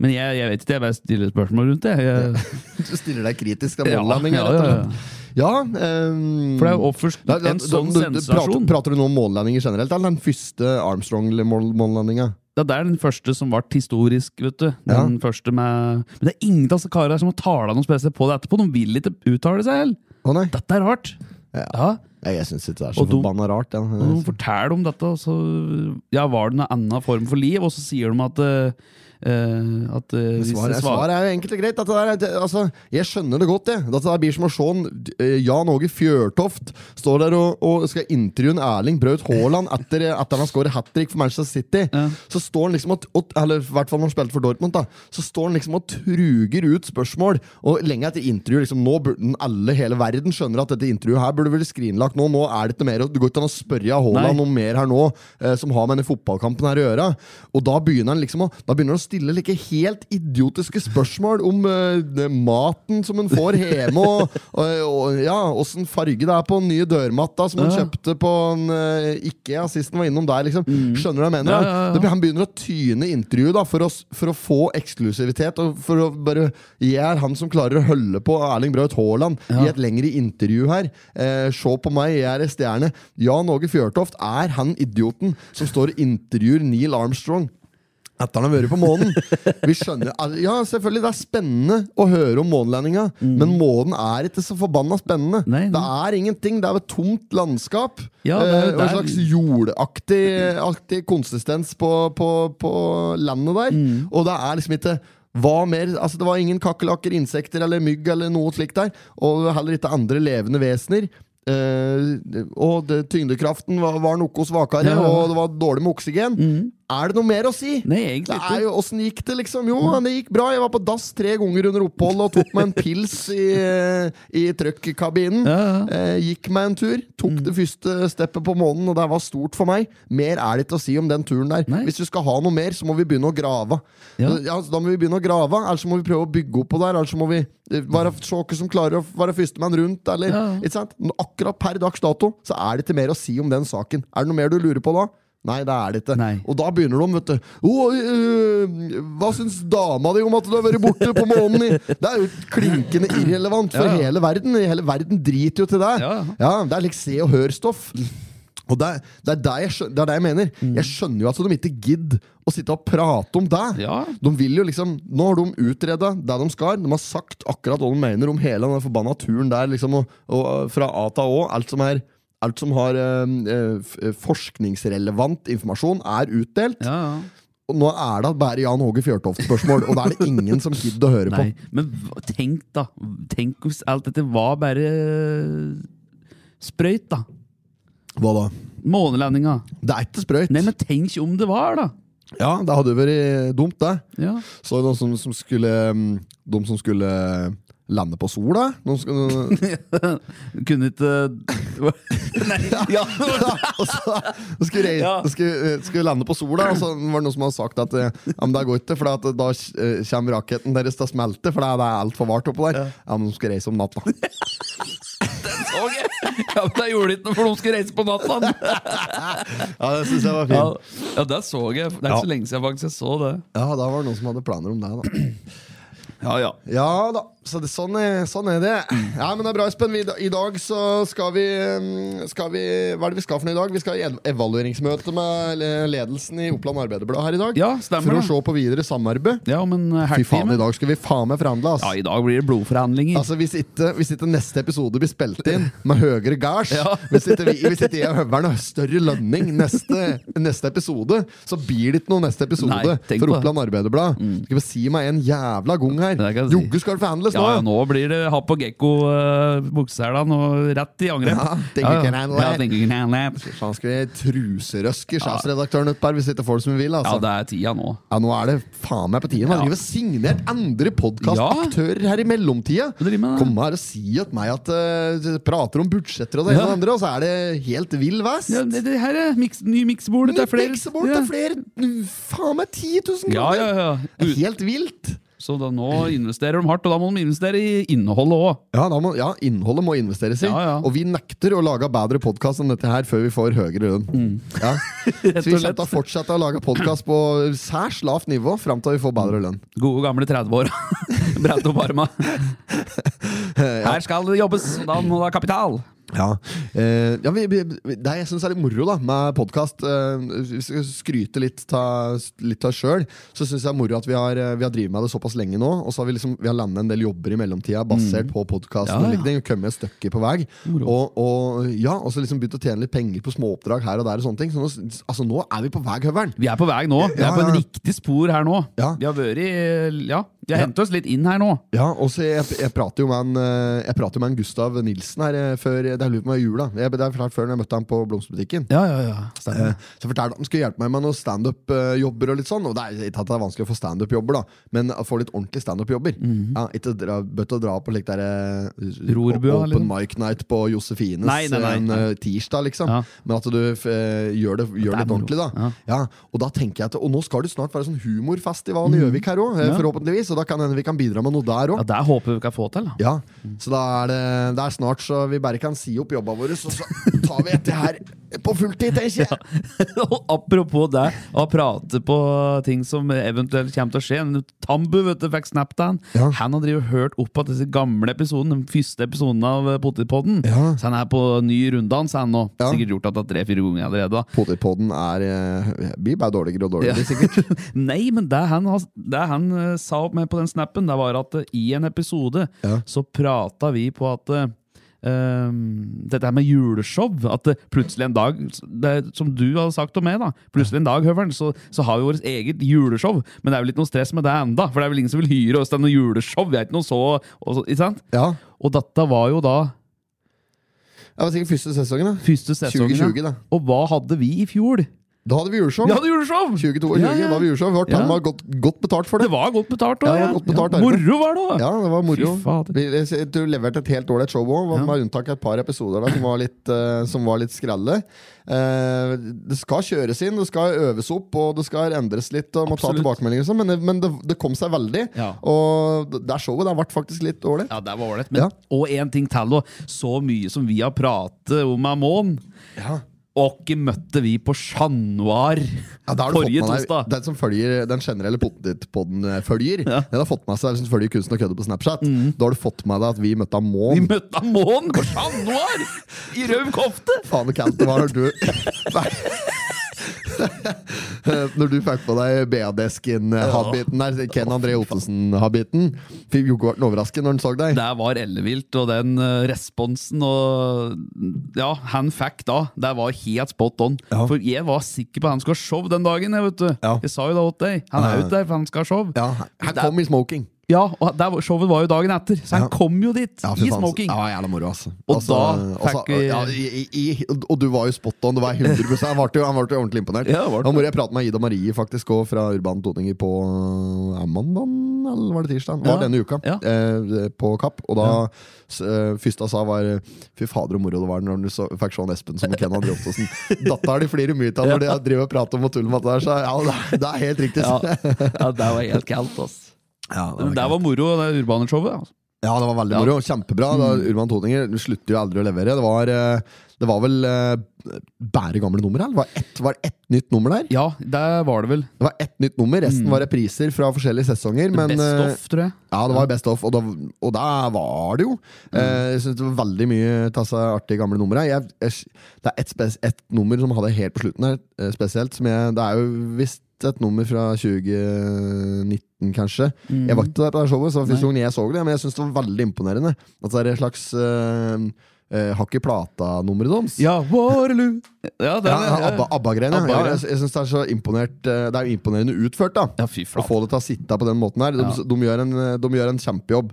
Speaker 2: Men jeg, jeg vet ikke, jeg bare stiller spørsmål rundt det. Jeg,
Speaker 1: Du stiller deg kritisk til
Speaker 2: Ja,
Speaker 1: månelanding.
Speaker 2: ja,
Speaker 1: her, rett og
Speaker 2: ja, ja.
Speaker 1: slett. Ja, ehm,
Speaker 2: For det er jo offerst
Speaker 1: Nei,
Speaker 2: en
Speaker 1: da-
Speaker 2: sånn
Speaker 1: da- da-
Speaker 2: sensasjon.
Speaker 1: Prater, prater du nå om månelandinger generelt, eller den første Armstrong-månelandinga?
Speaker 2: Ja, det er den første som ble historisk, vet du. Den første med... Men det er ingen av disse karene her som har tala noe spesielt på det etterpå. De vil ikke uttale seg heller.
Speaker 1: Å nei.
Speaker 2: Dette er rart.
Speaker 1: Ja.
Speaker 2: Ja,
Speaker 1: Nei, Jeg syns ikke det er så
Speaker 2: Og dum.
Speaker 1: forbanna rart. Ja.
Speaker 2: og De forteller om dette, og så ja, var det en annen form for liv, og så sier de at eh, eh, at eh, hvis
Speaker 1: Svaret,
Speaker 2: det
Speaker 1: svaret er jo enkelt og greit. Dette der, er- det, altså, jeg skjønner det godt. Jeg. Dette der blir som å se en, eh, Jan Åge Fjørtoft står der og, og skal intervjue en Erling Braut Haaland etter at han skårer hat trick for Manchester City. Så står han liksom og, og Eller i hvert fall når han spilte for Dortmund. da Så står han liksom og truger ut spørsmål. Og lenge etter intervju liksom, Nå burde den- alle hele verden skjønner at dette intervjuet her burde vært skrinlagt nå. Nå er det ikke mer å- Det går ikke an å spørre av Haaland
Speaker 2: Nei.
Speaker 1: noe mer her nå eh, som har med denne fotballkampen her å gjøre. Og da begynner han liksom å, da begynner han å stille like helt idiotiske spørsmål om eh, det- maten som en får hjemme, og, og, og ja, åssen farge det er på den nye dørmatta som han
Speaker 2: Ja.
Speaker 1: kjøpte på en eh, Ikea sist han var innom der. liksom. Skjønner du hva jeg mener?
Speaker 2: Mm. Ja,
Speaker 1: da?
Speaker 2: ja, ja.
Speaker 1: Det blir- Han begynner å tyne intervjuet da, for, å, s- for å få eksklusivitet. og for å bare, Jeg er han som klarer å holde på Erling Braut Haaland i et lengre intervju her. Eh, se på meg, jeg er en stjerne. Jan Åge Fjørtoft er han idioten som står og intervjuer Neil Armstrong. Etter han har vært på månen. Vi skjønner al- Ja, selvfølgelig, det er spennende å høre om månelandinga, men månen er ikke så forbanna spennende.
Speaker 2: Mm. Nei, nei.
Speaker 1: Det er ingenting. Det er et tomt landskap.
Speaker 2: Ja,
Speaker 1: eh,
Speaker 2: det er-
Speaker 1: og en
Speaker 2: det er-
Speaker 1: slags jordaktig aktig konsistens på, på, på landet der.
Speaker 2: Mm.
Speaker 1: Og det er liksom ikke hva mer, altså Det var ingen kakerlakker, insekter eller mygg eller noe slikt der. Og heller ikke andre levende vesener. Eh, og det, tyngdekraften var, var noe svakere,
Speaker 2: Ja, ja.
Speaker 1: og det var dårlig med oksygen. Er det noe mer å si?
Speaker 2: Nei, egentlig
Speaker 1: det
Speaker 2: ikke. Mm.
Speaker 1: er jo, Åssen gikk det, liksom? Jo, det gikk bra. Jeg var på dass tre ganger under oppholdet og tok meg en pils i, i trøkkabinen.
Speaker 2: Ja, Mm. ja.
Speaker 1: Eh, gikk meg en tur, tok det første steppet på månen, og det var stort for meg. Mer er det ikke å si om den turen der.
Speaker 2: Nei.
Speaker 1: Hvis du skal ha noe mer, så må vi begynne å grave.
Speaker 2: Ja.
Speaker 1: Så, Ja, så da må vi begynne å grave, eller så må vi prøve å bygge opp på der, eller så må vi eh, være se hvem som klarer å være førstemann rundt, eller
Speaker 2: Ja, ja.
Speaker 1: ikke sant? Men Akkurat per dags dato så er det ikke mer å si om den saken. Er det noe mer du lurer på da? Nei, det er det ikke.
Speaker 2: Nei.
Speaker 1: Og da begynner de, vet du. «Å, øh, hva syns dama di om at du har vært borte på månen? i?» Det er jo klinkende irrelevant for
Speaker 2: Ja, ja.
Speaker 1: hele verden. Hele verden driter jo til deg.
Speaker 2: Ja, ja.
Speaker 1: det er liksom se og hør-stoff. Og det er det, er det, jeg, skjø- det er det jeg mener.
Speaker 2: Mm.
Speaker 1: Jeg skjønner jo at de ikke gidder å sitte og prate om deg.
Speaker 2: Ja.
Speaker 1: De vil jo liksom, nå har de utreda det de skal. De har sagt akkurat hva de mener om hele den forbanna turen der. Liksom, og, og Fra A til Å. Alt som, er, alt som har eh, eh, f- eh, forskningsrelevant informasjon, er utdelt.
Speaker 2: Ja, ja.
Speaker 1: Og nå er det bare Jan Håge Fjørtoft-spørsmål, og da er det ingen som gidder å høre på.
Speaker 2: Nei, men hva- tenk da. Tenk hvis alt dette var bare sprøyt, da.
Speaker 1: Hva da?
Speaker 2: Månelandinga.
Speaker 1: Det er ikke sprøyt.
Speaker 2: Nei, men tenk om det var, da!
Speaker 1: Ja, det hadde jo vært eh, dumt, det.
Speaker 2: Ja.
Speaker 1: Så er det noen som, som skulle mm, De som skulle eh, lande på sola? Noen skulle,
Speaker 2: Kunne ikke eh, Nei, ja.
Speaker 1: og så, de skulle, rei-
Speaker 2: Ja.
Speaker 1: de skulle, eh, skulle lande på sola, og så var det noen som hadde sagt at eh, ja, men det går ikke, for at da eh, kommer raketten deres til å smelte, for det er altfor varmt oppå der. Ja, men de skulle reise om natta.
Speaker 2: Den så jeg! Ja, men det gjorde ikke noe, for de skulle reise på natta!
Speaker 1: Ja, det syns jeg var
Speaker 2: Ja,
Speaker 1: fint.
Speaker 2: ja, det så jeg. Det er ikke
Speaker 1: Ja.
Speaker 2: så lenge siden jeg faktisk så det.
Speaker 1: Ja, da var det noen som hadde planer om deg, da.
Speaker 2: Ja, ja.
Speaker 1: Ja da, så det, sånn, er, sånn er det. Ja, men det er bra, Espen. Vi, I dag så skal vi, mm, skal vi Hva er det vi skal for noe i dag? Vi skal i ev- evalueringsmøte med le- ledelsen i Oppland Arbeiderblad her i dag.
Speaker 2: Ja, stemmer
Speaker 1: for å
Speaker 2: det.
Speaker 1: se på videre samarbeid.
Speaker 2: Ja, men eh,
Speaker 1: Fy faen,
Speaker 2: helgtime
Speaker 1: i dag skal vi faen meg forhandle, ass.
Speaker 2: Ja, i dag blir det blodforhandlinger.
Speaker 1: Altså, hvis ikke, hvis ikke neste episode blir spilt inn med høyere gards,
Speaker 2: Ja.
Speaker 1: hvis, ikke vi, hvis ikke jeg og Høveren har større lønning neste, neste episode, så blir det ikke noe neste episode
Speaker 2: Nei,
Speaker 1: for
Speaker 2: tenk på det. Mm.
Speaker 1: Oppland Arbeiderblad. Skal vi si meg en jævla gang her?
Speaker 2: Det kan jeg si.
Speaker 1: Jogge skal det forhandles
Speaker 2: Ja,
Speaker 1: nå!
Speaker 2: ja, nå blir det happ og gekko uh, bukseselene og rett i angrep.
Speaker 1: Ja, think you can handle
Speaker 2: Ja,
Speaker 1: it.
Speaker 2: think you can handle it.
Speaker 1: Faen, skal vi truserøske sjefsredaktøren utpå her hvis ikke folk som vil?
Speaker 2: Ja,
Speaker 1: Altså. Ja,
Speaker 2: det er tida nå.
Speaker 1: nå er det faen meg på tiden. Man
Speaker 2: Ja.
Speaker 1: driver og signert andre podkastaktører her i mellomtida.
Speaker 2: Hva driver med det?
Speaker 1: Kom her og si at meg at eh, du prater om budsjetter og det ene
Speaker 2: Ja.
Speaker 1: og det andre, og så er det helt vill vest.
Speaker 2: Ja, det, det her er miks, ny miksebord. Det er flere.
Speaker 1: Miksebord til flere Faen meg 10 000
Speaker 2: Ja, ja,
Speaker 1: kroner!
Speaker 2: ja.
Speaker 1: Det
Speaker 2: Ut,
Speaker 1: er Helt vilt!
Speaker 2: så da, nå investerer de hardt, og da må de investere i innholdet òg.
Speaker 1: Ja, da må, ja, Innholdet må investeres i.
Speaker 2: Ja, ja.
Speaker 1: Og vi nekter å lage bedre podkast enn dette her før vi får høyere lønn. Ja. Så vi
Speaker 2: Mm. og
Speaker 1: kommer til å fortsette å lage podkast på særs lavt nivå fram til vi får bedre lønn.
Speaker 2: Gode gamle 30-åra. Brett opp arma. Her skal det jobbes, og da må det ha kapital.
Speaker 1: Ja, eh, ja vi, vi, Det jeg syns er litt moro da med podkast eh, Hvis vi skal skryte litt ta- litt av oss sjøl, så syns jeg det er moro at vi har, eh, vi har drevet med det såpass lenge nå. Og så har vi liksom Vi har landet en del jobber i mellomtida basert på podkasten.
Speaker 2: Mm. Ja, ja.
Speaker 1: Og litt ting, og kommet et stykke på vei. Og, og, ja, og så liksom begynt å tjene litt penger på småoppdrag her og der. og sånne ting Så nå, s- altså, nå er vi på vei, Høveren!
Speaker 2: Vi er på vei nå. Vi
Speaker 1: Ja,
Speaker 2: er på
Speaker 1: ja,
Speaker 2: en
Speaker 1: ja.
Speaker 2: riktig spor her nå.
Speaker 1: Ja.
Speaker 2: Vi har vært i- Ja, vi har hentet oss litt inn her nå.
Speaker 1: Ja, og så jeg, jeg prater jo med en eh, Jeg prater jo med en Gustav Nilsen her eh, før Det er lurt med jula. Jeg, det er klart før når jeg møtte ham på blomsterbutikken.
Speaker 2: Ja, ja, ja. Stemmer.
Speaker 1: Eh, Så fortalte han skulle hjelpe meg med noen standup-jobber. og litt sånn Og det er ikke at det er vanskelig å få standup-jobber, da men å få litt ordentlige standup-jobber.
Speaker 2: Mhm.
Speaker 1: Ja, ikke dra, bøtt å dra på like der, eh,
Speaker 2: Rorbua,
Speaker 1: o- Open
Speaker 2: liksom.
Speaker 1: mic night på Josefines
Speaker 2: Nei, nei, nei,
Speaker 1: en
Speaker 2: nei.
Speaker 1: eh, tirsdag, liksom.
Speaker 2: Ja.
Speaker 1: Men at du f, eh, gjør det, gjør
Speaker 2: Det er
Speaker 1: litt
Speaker 2: moro.
Speaker 1: ordentlig, da. Ja.
Speaker 2: Ja.
Speaker 1: Og da tenker jeg at Og nå skal det snart være sånn humorfestival i Gjøvik her òg,
Speaker 2: Mhm. Ja.
Speaker 1: forhåpentligvis. Og da kan det hende vi kan bidra med noe der òg.
Speaker 2: Ja, Der håper vi vi kan få til. da.
Speaker 1: Ja, så da er det, det er snart så vi bare kan si opp jobba våre, så, så tar vi etter her på fulltid, tenker jeg.
Speaker 2: Og apropos det, å prate på ting som eventuelt kommer til å skje. En Tambu vet du, fikk snap til han.
Speaker 1: Ja.
Speaker 2: Han har drevet og hørt opp at disse gamle episoden, den første episoden av Potipodden.
Speaker 1: Ja.
Speaker 2: Så han er på ny runddans, han nå.
Speaker 1: Ja.
Speaker 2: Sikkert gjort at det tre-fire ganger allerede. da.
Speaker 1: Potipodden er eh, blir bare dårligere og
Speaker 2: Ja.
Speaker 1: dårligere.
Speaker 2: Nei, men det han, har- det han eh, sa opp med på den snappen, det var at eh, i en episode
Speaker 1: Ja.
Speaker 2: så prata vi på at eh, ehm, dette her med juleshow, at eh, plutselig en dag det, Som du hadde sagt om meg, da. Plutselig en dag, Høveren, så, så har vi vårt eget juleshow. Men det er vel ikke noe stress med det enda For det er vel ingen som vil hyre oss til noe juleshow. Vi er ikke noe så, og så Ikke sant?
Speaker 1: Ja.
Speaker 2: Og dette var jo da
Speaker 1: Det var sikkert første sesongen, da.
Speaker 2: første sesongen.
Speaker 1: 2020,
Speaker 2: ja.
Speaker 1: da.
Speaker 2: Og hva hadde vi i fjor?
Speaker 1: Da hadde vi juleshow.
Speaker 2: Vi hadde juleshow!
Speaker 1: 2022
Speaker 2: Ja, ja.
Speaker 1: da hadde vi juleshow. Vi var
Speaker 2: Ja.
Speaker 1: ja. godt, godt betalt for
Speaker 2: Det
Speaker 1: det.
Speaker 2: var godt betalt
Speaker 1: Ja,
Speaker 2: òg.
Speaker 1: det var godt betalt arbeid.
Speaker 2: Moro var det òg!
Speaker 1: Ja, det var moro.
Speaker 2: Fy fader.
Speaker 1: Vi- jeg ser- Du leverte et helt ålreit show òg, med unntak av et par episoder der, som var litt, eh, som var litt skralle. Eh, det skal kjøres inn, det skal øves opp, og det skal endres litt. Og må ta
Speaker 2: Absolutt.
Speaker 1: tilbakemeldinger og sånn, Men, det, men det, det kom seg veldig.
Speaker 2: Ja.
Speaker 1: Og det der showet der ble faktisk litt ålreit.
Speaker 2: Ja, det var ålreit. men-
Speaker 1: Ja.
Speaker 2: Og én ting til. og Så mye som vi har pratet om Amon.
Speaker 1: Ja.
Speaker 2: Og møtte vi på Chat Noir
Speaker 1: Ja, da har du
Speaker 2: forrige
Speaker 1: fått med deg-
Speaker 2: tosdag.
Speaker 1: Den som følger Den generelle podden eh, følger Den har fått med seg Den som følger kunsten og kødde på Snapchat Da har du fått med deg at vi møtte
Speaker 2: Mhm. Vi
Speaker 1: Amon
Speaker 2: møtte Amon på Chat Noir! I rød kofte!
Speaker 1: Faen hvor kaldt det var når du Nei. Når du fikk på deg eh, BAD-skin-habiten der Ken André Ottesen-habiten Fikk jo ikke vært overrasket når han så deg
Speaker 2: Det var ellevilt, og den eh, responsen og Ja, han fikk da. Det var helt spot on.
Speaker 1: Ja.
Speaker 2: For jeg var sikker på at han skulle ha show den dagen. Jeg, vet du.
Speaker 1: Ja.
Speaker 2: jeg sa jo det til deg. Han er ute der, for han skal ha show.
Speaker 1: Ja, han kom i smoking
Speaker 2: Ja, og der, var- Showet var jo dagen etter, så han
Speaker 1: Ja.
Speaker 2: kom jo dit
Speaker 1: Ja, fy
Speaker 2: i
Speaker 1: faen.
Speaker 2: smoking.
Speaker 1: Ja, jævla moro, altså.
Speaker 2: Og
Speaker 1: altså,
Speaker 2: da
Speaker 1: altså,
Speaker 2: fikk vi-
Speaker 1: ja, i, i, i, Og du var jo spot on. Det var 100 Han ble jo, han ble jo ordentlig imponert.
Speaker 2: Ja, det ble det.
Speaker 1: Nå må jeg prate med Ida Marie faktisk også fra Urban Toninger på eh, mandagen, eller var det tirsdag? Var
Speaker 2: Ja.
Speaker 1: denne uka,
Speaker 2: Ja.
Speaker 1: eh, på Kapp. Og da s- eh, første jeg sa, var eh, Fy fader, så moro det var når du så, fikk se han Espen som Ken André Ottosen. Dattera di flirer mye av når de driver og prater om og tuller med det der. Så ja, det er- det er helt riktig.
Speaker 2: Ja, ja det var helt kaldt, ass.
Speaker 1: Ja, det var
Speaker 2: Men det
Speaker 1: gøy.
Speaker 2: var moro, det urbane showet. Altså.
Speaker 1: Ja, det var veldig
Speaker 2: Ja. Mm.
Speaker 1: moro. Kjempebra. Da, Urban Toninger slutter jo aldri å levere. Det var, eh, det var vel eh, bare gamle nummer her? Det var ett, var det ett nytt nummer der?
Speaker 2: Ja, der var det vel.
Speaker 1: Det var ett nytt nummer, resten var repriser fra forskjellige sesonger. Men,
Speaker 2: Mm. Best
Speaker 1: eh,
Speaker 2: of, tror jeg.
Speaker 1: Ja, det var best of, og da, og da var det jo.
Speaker 2: Mm.
Speaker 1: Eh, jeg synes det var veldig mye tasse artige gamle numre. Jeg, jeg, det er ett spes- ett nummer som hadde helt på slutten her, eh, spesielt. Som jeg, det er jo visst et nummer fra 2019, kanskje. Jeg
Speaker 2: Mm.
Speaker 1: var ikke der på det showet, så det var første gang jeg så det, men jeg syns det var veldig imponerende. At det er et slags eh, eh, hakk i plata-nummeret deres.
Speaker 2: Ja, Waterloo! Ja,
Speaker 1: Ja,
Speaker 2: det er, det, ja.
Speaker 1: Abba- Abba-greiene. ja.
Speaker 2: Abba-greiene.
Speaker 1: ja, jeg jeg syns det er så imponert eh, Det er jo imponerende utført, da.
Speaker 2: Ja, fy
Speaker 1: Å
Speaker 2: flate.
Speaker 1: få det til å sitte på den måten her. De,
Speaker 2: Ja.
Speaker 1: de, gjør, en, de gjør en kjempejobb.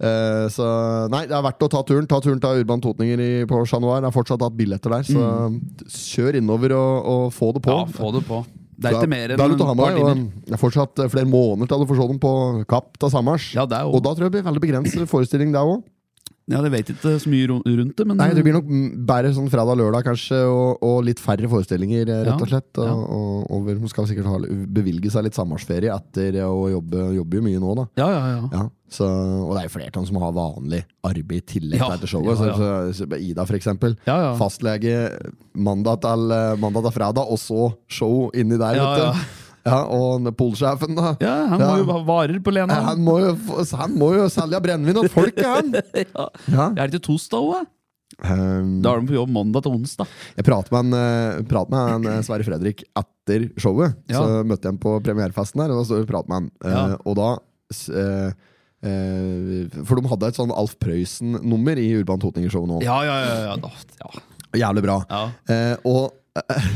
Speaker 1: Eh, så nei, det er verdt å ta turen. Ta turen til Urban Totninger i, på Chat Noir. Jeg har fortsatt hatt billetter der, så kjør innover og, og få det på.
Speaker 2: Mm. Ja, få det på. Det er ikke mer
Speaker 1: Da er
Speaker 2: enn
Speaker 1: du til
Speaker 2: et par
Speaker 1: Hamar, og
Speaker 2: timer.
Speaker 1: Det er fortsatt eh, flere måneder til du får se dem på Kapp til Samars.
Speaker 2: Ja, det er jo-
Speaker 1: og da tror jeg det blir veldig begrenset forestilling, det òg.
Speaker 2: Ja, jeg vet ikke så mye ro- rundt det, men
Speaker 1: Nei, det blir nok m- bare sånn fredag-lørdag, kanskje, og, og litt færre forestillinger, eh, rett og
Speaker 2: Ja,
Speaker 1: slett. Og, og, og vel, hun skal sikkert ha, bevilge seg litt samværsferie etter å jobbe, jobbe jo mye nå, da.
Speaker 2: Ja, ja, ja.
Speaker 1: Ja, så, og det er jo flere av dem som har vanlig arbeid i tillegg
Speaker 2: Ja,
Speaker 1: til dette showet.
Speaker 2: ja, ja.
Speaker 1: Så, så, så, Ida, for eksempel.
Speaker 2: Ja, ja.
Speaker 1: Fastlege mandag til, mandag til fredag, og så show inni der.
Speaker 2: Ja,
Speaker 1: vet du. Ja, og den polsjefen, da.
Speaker 2: Ja, han må jo ha varer på
Speaker 1: Ja,
Speaker 2: Lena.
Speaker 1: Han må, jo, f- han må jo selge brennevin til folket, han!
Speaker 2: Ja.
Speaker 1: Ja.
Speaker 2: Er det ikke tosdag òg?
Speaker 1: Um,
Speaker 2: Da er de på jobb mandag til onsdag.
Speaker 1: Jeg pratet med, en, eh, pratet med en eh, Sverre Fredrik etter showet.
Speaker 2: Ja.
Speaker 1: Så møtte jeg ham på premierefesten der, og da stod vi og pratet med han. Eh,
Speaker 2: Ja.
Speaker 1: Og da s- eh, eh, For de hadde et sånn Alf Prøysen-nummer i Urban Totninger-showet nå.
Speaker 2: Ja, ja, ja. ja, da, ja.
Speaker 1: Jævlig bra.
Speaker 2: ja.
Speaker 1: Eh, og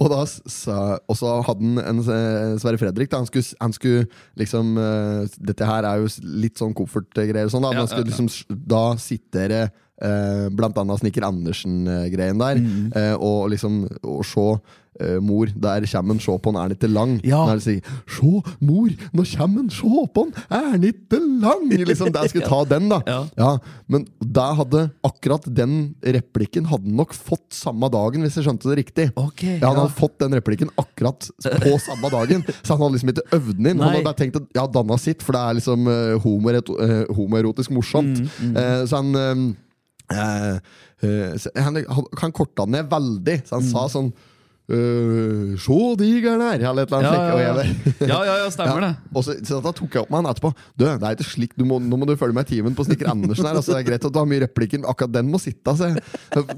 Speaker 1: og da s- sa Og så hadde han en eh, Sverre Fredrik. Da. Han, skulle, s- han skulle liksom eh, Dette her er jo s- litt sånn koffertgreier og sånn. Da, men
Speaker 2: Ja,
Speaker 1: han skulle
Speaker 2: ja, ja.
Speaker 1: liksom s- Da sitere eh, blant annet Snikker Andersen-greien der.
Speaker 2: Mm.
Speaker 1: Eh, og liksom Å se eh, mor, der kommer han, se på han, er han ikke lang?
Speaker 2: Ja.
Speaker 1: Når han sier 'Sjå, mor, nå kommer han, se på han, er han ikke lang?' Liksom, der skulle ta den, da.
Speaker 2: Ja.
Speaker 1: Ja, men der hadde akkurat den replikken hadde han nok fått samme dagen, hvis jeg skjønte det riktig.
Speaker 2: Ok,
Speaker 1: ja, han
Speaker 2: ja.
Speaker 1: hadde fått den replikken akkurat på samme dagen, så han hadde liksom ikke øvd den inn. Han
Speaker 2: Nei.
Speaker 1: hadde bare tenkt at ja, danna sitt, for det er liksom eh, homoerot- eh, homoerotisk morsomt.
Speaker 2: Mm,
Speaker 1: Eh, så han eh, eh, så han, han, han korta den ned veldig, så
Speaker 2: Mm.
Speaker 1: han sa sånn Uh, Sjå digeren her! Eller et eller annet.
Speaker 2: Ja,
Speaker 1: slikt,
Speaker 2: ja,
Speaker 1: og
Speaker 2: ja.
Speaker 1: jeg-
Speaker 2: ja, ja, ja stemmer det.
Speaker 1: og så, så da tok jeg opp med han etterpå. Du, det er ikke slik, du må, Nå må du følge med i timen på snekker Andersen. her altså, Det er greit at du har mye replikker, men akkurat den må sitte. Altså.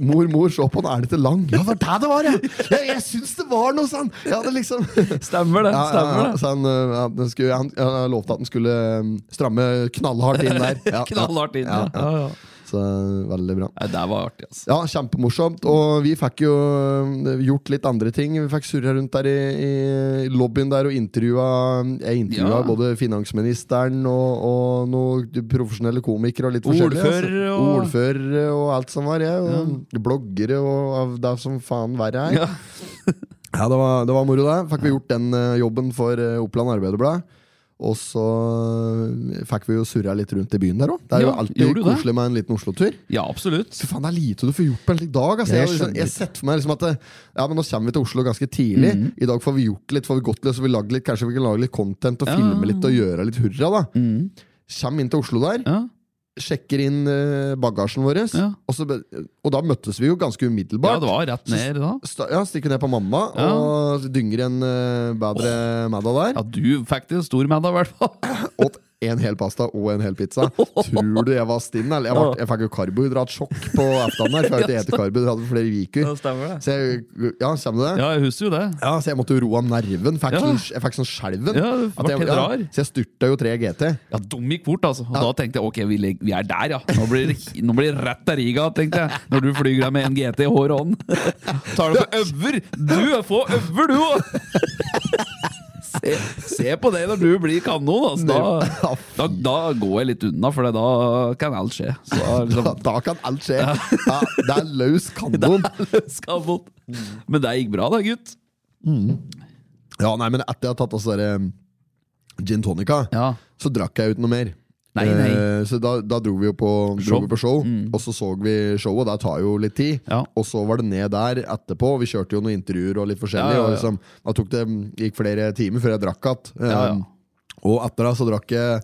Speaker 1: Mor, mor, se på den, er den ikke lang? Ja, det var der det var, jeg! Jeg, jeg syns det var noe sånn! Jeg hadde liksom
Speaker 2: Stemmer det.
Speaker 1: ja, ja,
Speaker 2: stemmer
Speaker 1: ja.
Speaker 2: det
Speaker 1: Så han, øh, han, skulle, han, han lovte at han skulle øh, stramme knallhardt inn der. Ja, ja.
Speaker 2: Knallhardt inn. Ja, ja, ja.
Speaker 1: Så øh, veldig bra.
Speaker 2: Nei, det var artig, altså.
Speaker 1: Ja, kjempemorsomt. Og vi fikk jo ø, gjort litt andre ting. Vi fikk surra rundt der i, i lobbyen der og intervjua Jeg intervjua
Speaker 2: Ja.
Speaker 1: både finansministeren og, og noen profesjonelle komikere og litt forskjellig.
Speaker 2: Ordfører og-
Speaker 1: Ordfører og alt som var, jeg. Og bloggere og av det som faen verre er. Ja,
Speaker 2: Ja.
Speaker 1: det, var, det var moro, det. Fikk vi gjort den ø, jobben for ø, Oppland Arbeiderblad. Og så ø, fikk vi jo surra litt rundt i byen der òg. Det er jo
Speaker 2: Ja, gjorde
Speaker 1: alltid
Speaker 2: du det?
Speaker 1: koselig med en liten Oslo-tur.
Speaker 2: Ja, absolutt.
Speaker 1: Fy faen, det er lite du får gjort på en slik dag. Altså.
Speaker 2: Jeg
Speaker 1: Jeg, har liksom,
Speaker 2: skjønner Mm.
Speaker 1: jeg
Speaker 2: ikke.
Speaker 1: setter for meg liksom at det, Ja, men Nå kommer vi til Oslo ganske tidlig. I dag får vi gjort litt, får vi gått litt, så vi lagd litt, kanskje vi kan lage litt content og
Speaker 2: Ja. Mm.
Speaker 1: filme litt og gjøre litt hurra. da Kjem inn til Oslo der,
Speaker 2: Ja,
Speaker 1: sjekker inn eh, bagasjen vår,
Speaker 2: Ja.
Speaker 1: og, så, be- og da møttes vi jo ganske
Speaker 2: ja
Speaker 1: umiddelbart.
Speaker 2: det var rett ned da.
Speaker 1: Sta- ja, Stikker ned på mamma
Speaker 2: Ja.
Speaker 1: og dynger en eh, bedre middag der.
Speaker 2: Ja, du fikk det stor med deg, i hvert fall.
Speaker 1: Åt en hel pasta og en hel pizza. Tror du jeg var stinn? Eller? Jeg, var, jeg fikk jo karbohydratsjokk på ettermiddagen. her, For jeg har ikke spist karbohydrater for flere uker.
Speaker 2: stemmer det.
Speaker 1: Så jeg, ja, kommer det? Ja.
Speaker 2: Ja, jeg husker jo det.
Speaker 1: så jeg måtte jo roe av nerven. Fikk
Speaker 2: Ja.
Speaker 1: sånn, jeg fikk sånn skjelven.
Speaker 2: Ja, du
Speaker 1: At jeg-
Speaker 2: ble helt rar.
Speaker 1: så jeg styrta jo 3 GT.
Speaker 2: Ja, Dum gikk fort, altså. Og Da tenkte jeg ok, vi, leg- vi er der, ja. Nå blir det, nå blir det rett til Riga, tenkte jeg. Når du flyr deg med en GT i hår og hånd. Tar du på øver! Du får øver, du òg! Se, se på det når du blir kanon. Altså. Da, da, da går jeg litt unna, for da kan alt skje. Så
Speaker 1: Da,
Speaker 2: da, liksom,
Speaker 1: da kan alt skje. Ja, det er løs kanon.
Speaker 2: skal bort. Mm. Men det gikk bra, da, gutt.
Speaker 1: Ja, nei, men etter jeg har tatt altså der, eh, gin tonica,
Speaker 2: Ja.
Speaker 1: så drakk jeg ut noe mer.
Speaker 2: Nei, nei.
Speaker 1: Eh, Så da, da dro vi jo på show,
Speaker 2: Show. Mm.
Speaker 1: dro vi på show og så så vi showet. Det tar jo litt tid.
Speaker 2: Ja.
Speaker 1: Og så var det ned der etterpå. og Vi kjørte jo noen intervjuer og litt forskjellig.
Speaker 2: Ja, ja,
Speaker 1: Og
Speaker 2: ja.
Speaker 1: liksom,
Speaker 2: Um,
Speaker 1: da tok det, gikk flere timer før jeg drakk igjen. Um,
Speaker 2: Ja, ja.
Speaker 1: Og etter det så drakk jeg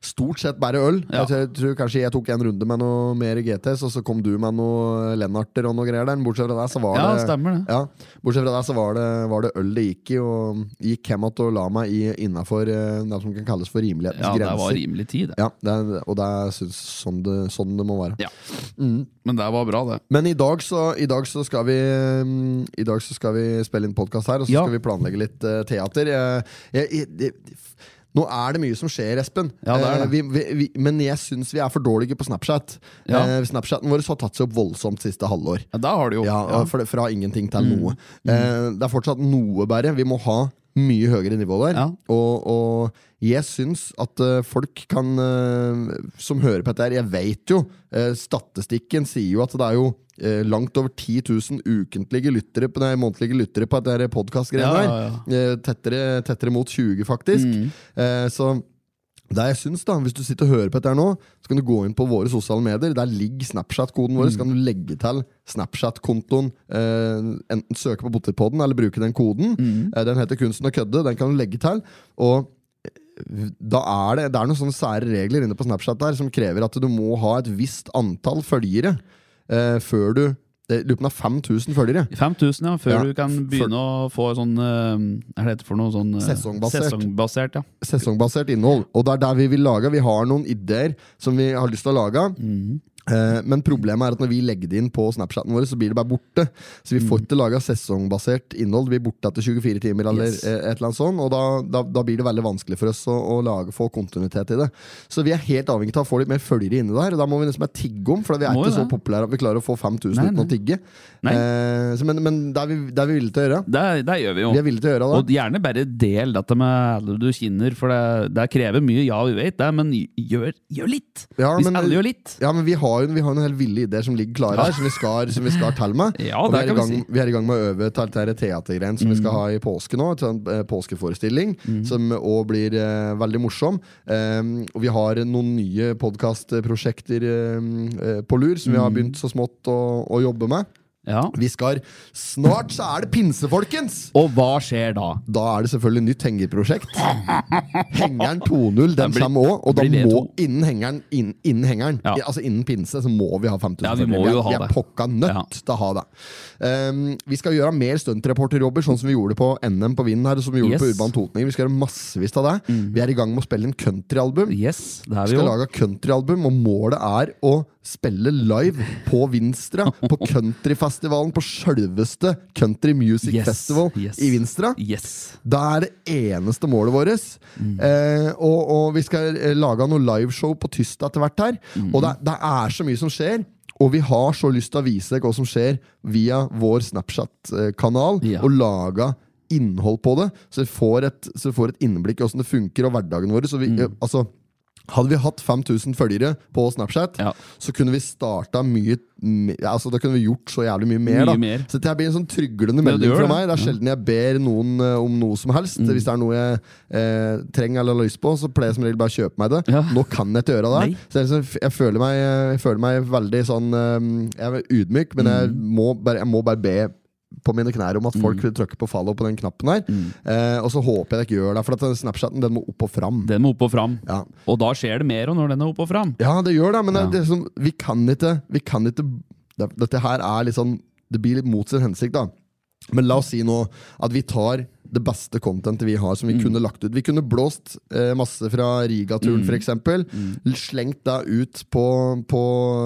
Speaker 1: stort sett bare øl.
Speaker 2: Ja.
Speaker 1: Jeg tror kanskje jeg tok en runde med noe mer GTs, og så kom du med noe Lennarter og noe greier der. men Bortsett fra det, så var
Speaker 2: Ja,
Speaker 1: det
Speaker 2: stemmer det.
Speaker 1: Ja, Bortsett fra det, så var det, var det øl det gikk i, og gikk hjem igjen og la meg innafor det som kan kalles for rimelighetens
Speaker 2: Ja, det var
Speaker 1: grenser.
Speaker 2: rimelig tid, det.
Speaker 1: Ja, det er, og det er synes- sånn det, sånn det må være.
Speaker 2: Ja. Men det var bra, det.
Speaker 1: Men i dag så, i dag så skal vi mm, I dag så skal vi spille inn podkast her, og så
Speaker 2: Ja.
Speaker 1: skal vi planlegge litt eh, teater. Jeg, jeg, jeg, det- f- nå er det mye som skjer, Espen.
Speaker 2: Ja, det er det.
Speaker 1: Eh, vi, vi, vi, men jeg syns vi er for dårlige på Snapchat.
Speaker 2: Ja.
Speaker 1: Eh, Snapchaten vår har tatt seg opp voldsomt siste halvår.
Speaker 2: Ja, da har du jo.
Speaker 1: Ja,
Speaker 2: Ja. Mm.
Speaker 1: for det- Fra ingenting til noe. Eh, det er fortsatt noe bedre. Vi må ha mye høyere nivå der.
Speaker 2: Ja.
Speaker 1: Og, og jeg syns at eh, folk kan eh, Som hører på dette her, jeg vet jo eh, Statistikken sier jo at det er jo eh, langt over 10 000 ukentlige lyttere på, nei, månedlige lyttere på dette her podcastgreiene
Speaker 2: Ja,
Speaker 1: her.
Speaker 2: ja, Mm.
Speaker 1: Eh, tettere, tettere mot 20, faktisk. Eh, så det jeg syns da, Hvis du sitter og hører på dette her nå, så kan du gå inn på våre sosiale medier. Der ligger Snapchat-koden vår.
Speaker 2: Mm.
Speaker 1: Så kan du legge til Snapchat-kontoen. Eh, enten søke på Potetpodden eller bruke den koden.
Speaker 2: Mm.
Speaker 1: Eh, den heter Kunsten å kødde. Den kan du legge til. Og eh, da er det, det er noen sånne sære regler inne på Snapchat der som krever at du må ha et visst antall følgere eh, før du Jeg lurer på om det er 5000 følgere.
Speaker 2: 5000, ja, før
Speaker 1: Ja,
Speaker 2: du kan begynne å få sånn eh, Hva heter det for noe? Sånn, eh,
Speaker 1: Sesongbasert.
Speaker 2: sesongbasert, ja.
Speaker 1: sesongbasert innhold. Og det er der vi vil lage. Vi har noen ideer som vi har lyst til å lage.
Speaker 2: Mhm.
Speaker 1: Eh, Men problemet er at når vi legger det inn på Snapchaten vår, så blir det bare borte. Så vi
Speaker 2: Mhm.
Speaker 1: får ikke laga sesongbasert innhold. Det blir borte etter 24 timer, eller
Speaker 2: Yes.
Speaker 1: eh, et eller annet sånt. Og da, da, da blir det veldig vanskelig for oss å, å lage, få kontinuitet i det. Så vi er helt avhengig av å få litt mer følgere inne der. Og da må vi nesten bare tigge om, for vi er
Speaker 2: Må jo
Speaker 1: ikke så
Speaker 2: det.
Speaker 1: populære at vi klarer å få 5000
Speaker 2: Nei,
Speaker 1: uten
Speaker 2: nei.
Speaker 1: å tigge.
Speaker 2: Nei.
Speaker 1: Eh, så, men men det, er vi, det er vi villige til å gjøre.
Speaker 2: Det, det gjør vi jo.
Speaker 1: Vi er villige til å gjøre det.
Speaker 2: Og gjerne bare del dette med alle du kjenner, for det, det krever mye. Ja, vi vet det, men gjør, gjør litt!
Speaker 1: Ja,
Speaker 2: Hvis
Speaker 1: men-
Speaker 2: alle gjør litt.
Speaker 1: Ja, men vi har jo vi har jo noen helt ville ideer som ligger klare her, som vi skal, som vi skal telle med.
Speaker 2: Ja,
Speaker 1: Og vi er,
Speaker 2: det
Speaker 1: i
Speaker 2: kan vi
Speaker 1: gang,
Speaker 2: si. Mm.
Speaker 1: vi er i gang med å øve til dette teatergreien som vi skal ha i påske nå. Til en eh, påskeforestilling som òg blir eh, veldig morsom. Ehm, og vi har noen nye podkastprosjekter eh, eh, på lur som vi
Speaker 2: Mm.
Speaker 1: har begynt så smått å, å jobbe med.
Speaker 2: Ja.
Speaker 1: Vi skal Snart så er det pinse, folkens!
Speaker 2: Og hva skjer da?
Speaker 1: Da er det selvfølgelig nytt hengerprosjekt. Hengeren 2.0 den
Speaker 2: Den blir-
Speaker 1: kommer òg, og da må
Speaker 2: blir V2.
Speaker 1: innen hengeren, innen, innen hengeren
Speaker 2: Ja.
Speaker 1: i- altså innen pinse, så må vi ha 5000.
Speaker 2: Ja, vi må
Speaker 1: følgere.
Speaker 2: jo ha
Speaker 1: vi er,
Speaker 2: det.
Speaker 1: vi er pokka nødt
Speaker 2: Ja.
Speaker 1: til å ha det. Ehm, vi skal gjøre mer stuntreporterjobber, sånn som vi gjorde på NM på Vind her. og Som vi gjorde
Speaker 2: Yes.
Speaker 1: på Urban Totning. Vi skal gjøre massevis av det. Vi er i gang med å spille inn countryalbum.
Speaker 2: Yes, det
Speaker 1: Vi
Speaker 2: er vi
Speaker 1: skal
Speaker 2: jo.
Speaker 1: lage countryalbum, og målet er å spille live på Vinstra. På countryfestivalen, på sjølveste Country Music
Speaker 2: Yes,
Speaker 1: Festival
Speaker 2: yes.
Speaker 1: i Vinstra.
Speaker 2: Yes.
Speaker 1: Det er det eneste målet vårt. Eh, og, og vi skal eh, lage noe liveshow på Tysta etter hvert her.
Speaker 2: Mm.
Speaker 1: Og det, det er så mye som skjer. Og vi har så lyst til å vise deg hva som skjer via vår Snapchat-kanal.
Speaker 2: Ja.
Speaker 1: Og lage innhold på det, så du får et, så du får et innblikk i åssen det funker og hverdagen vår. Så vi,
Speaker 2: Mm.
Speaker 1: eh, altså, hadde vi hatt 5000 følgere på Snapchat,
Speaker 2: Ja.
Speaker 1: så kunne vi starta mye m- ja, altså, Da kunne vi gjort så jævlig mye mer.
Speaker 2: Mye
Speaker 1: da.
Speaker 2: mer.
Speaker 1: Så dette her blir en sånn tryglende
Speaker 2: Ja, det
Speaker 1: melding
Speaker 2: gjør
Speaker 1: fra meg.
Speaker 2: det.
Speaker 1: Det er sjelden jeg ber noen eh, om noe som helst.
Speaker 2: Mm.
Speaker 1: Hvis det er noe jeg eh, trenger eller har lyst på, så pleier jeg som regel bare å kjøpe meg det.
Speaker 2: Ja.
Speaker 1: Nå kan jeg ikke gjøre det.
Speaker 2: Nei.
Speaker 1: Så jeg, liksom- jeg, føler meg, jeg føler meg veldig sånn eh, Jeg er ydmyk, men jeg,
Speaker 2: Mm.
Speaker 1: må bare, jeg må bare be på mine knær om at folk vil trykke på follow på den knappen her.
Speaker 2: Mm.
Speaker 1: Eh, og så håper jeg det ikke gjør det, for at den Snapchaten den må opp og fram.
Speaker 2: Den må opp og fram.
Speaker 1: Ja.
Speaker 2: Og da skjer det mer og når den er opp og fram.
Speaker 1: Ja, det gjør det, men det,
Speaker 2: sånn. Ja.
Speaker 1: det er sånn, vi kan ikke, vi kan ikke det, Dette her er litt sånn Det blir litt mot sin hensikt, da. Men la oss si nå at vi tar det beste contentet vi har, som vi
Speaker 2: Mm.
Speaker 1: kunne lagt ut. Vi kunne blåst eh, masse fra Riga-turen, for f.eks.
Speaker 2: Mm.
Speaker 1: Slengt det ut på, på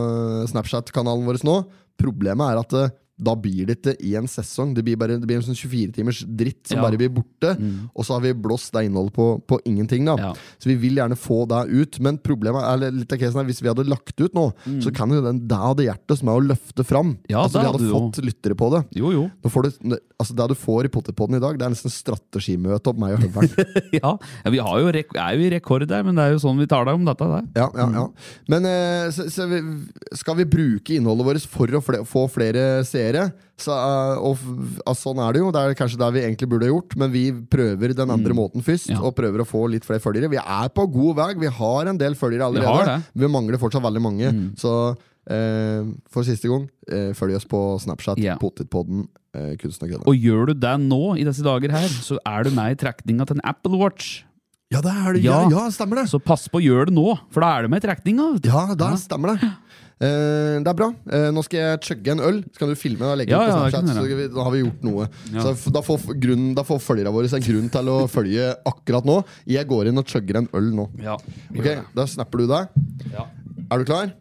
Speaker 1: eh, Snapchat-kanalen vår nå. Problemet er at eh, da blir det ikke i en sesong. Det blir, bare, det blir en sånn 24-timers dritt som
Speaker 2: Ja.
Speaker 1: bare blir borte. Og så har vi blåst det innholdet på, på ingenting. da
Speaker 2: Mm. Ja.
Speaker 1: så vi vil gjerne få det ut, men problemet er eller litt av casen her, hvis vi hadde lagt ut nå, så kan jo den det hadde hjertet som er å løfte fram.
Speaker 2: Mm. Ja,
Speaker 1: altså,
Speaker 2: det
Speaker 1: vi
Speaker 2: hadde
Speaker 1: hadde
Speaker 2: du
Speaker 1: fått lyttere på det.
Speaker 2: Jo, jo.
Speaker 1: Nå får du, altså Det du får i Potterpodden i dag, Det er nesten strategimøte opp meg og Høveren.
Speaker 2: Ja, ja, vi har jo rek er jo i rekord der, men det er jo sånn vi tar deg om dette. Der.
Speaker 1: Ja, ja, ja.
Speaker 2: Mm.
Speaker 1: Men eh, så, så vi, skal vi bruke innholdet vårt for å fle få flere seere? Så, eh, og, f- ja, sånn er det jo. Det er kanskje det vi egentlig burde gjort, men vi prøver den andre måten først.
Speaker 2: Mm. Ja.
Speaker 1: Og prøver å få litt flere følgere. Vi er på god vei. Vi har en del følgere
Speaker 2: Vi
Speaker 1: allerede.
Speaker 2: har
Speaker 1: Vi,
Speaker 2: det. Mm.
Speaker 1: mangler fortsatt veldig mange. Så eh, for siste gang, eh, følg oss på Snapchat,
Speaker 2: Ja.
Speaker 1: Potetpodden, eh, Kunsten og Kødda.
Speaker 2: Og gjør du det nå, i disse dager her, så er du med i trekninga til en Apple Watch.
Speaker 1: Ja, det er det. Ja,
Speaker 2: Ja.
Speaker 1: ja stemmer det.
Speaker 2: Så pass på å gjøre det nå, for da er det med i trekninga. vet du.
Speaker 1: Ja, da stemmer det. Eh, det er bra. Eh, nå skal jeg chugge en øl. Så kan du filme og legge
Speaker 2: Ja,
Speaker 1: ut på
Speaker 2: ja, det kan
Speaker 1: Snapchat.
Speaker 2: du
Speaker 1: så
Speaker 2: gjøre.
Speaker 1: vi, da har vi gjort noe.
Speaker 2: Ja.
Speaker 1: Så f- da får, f- grunnen- da får følgerne våre en grunn til å følge akkurat nå. Jeg går inn og chugger en øl nå.
Speaker 2: Ja.
Speaker 1: Ok, Da snapper du deg.
Speaker 2: Ja.
Speaker 1: Er du klar?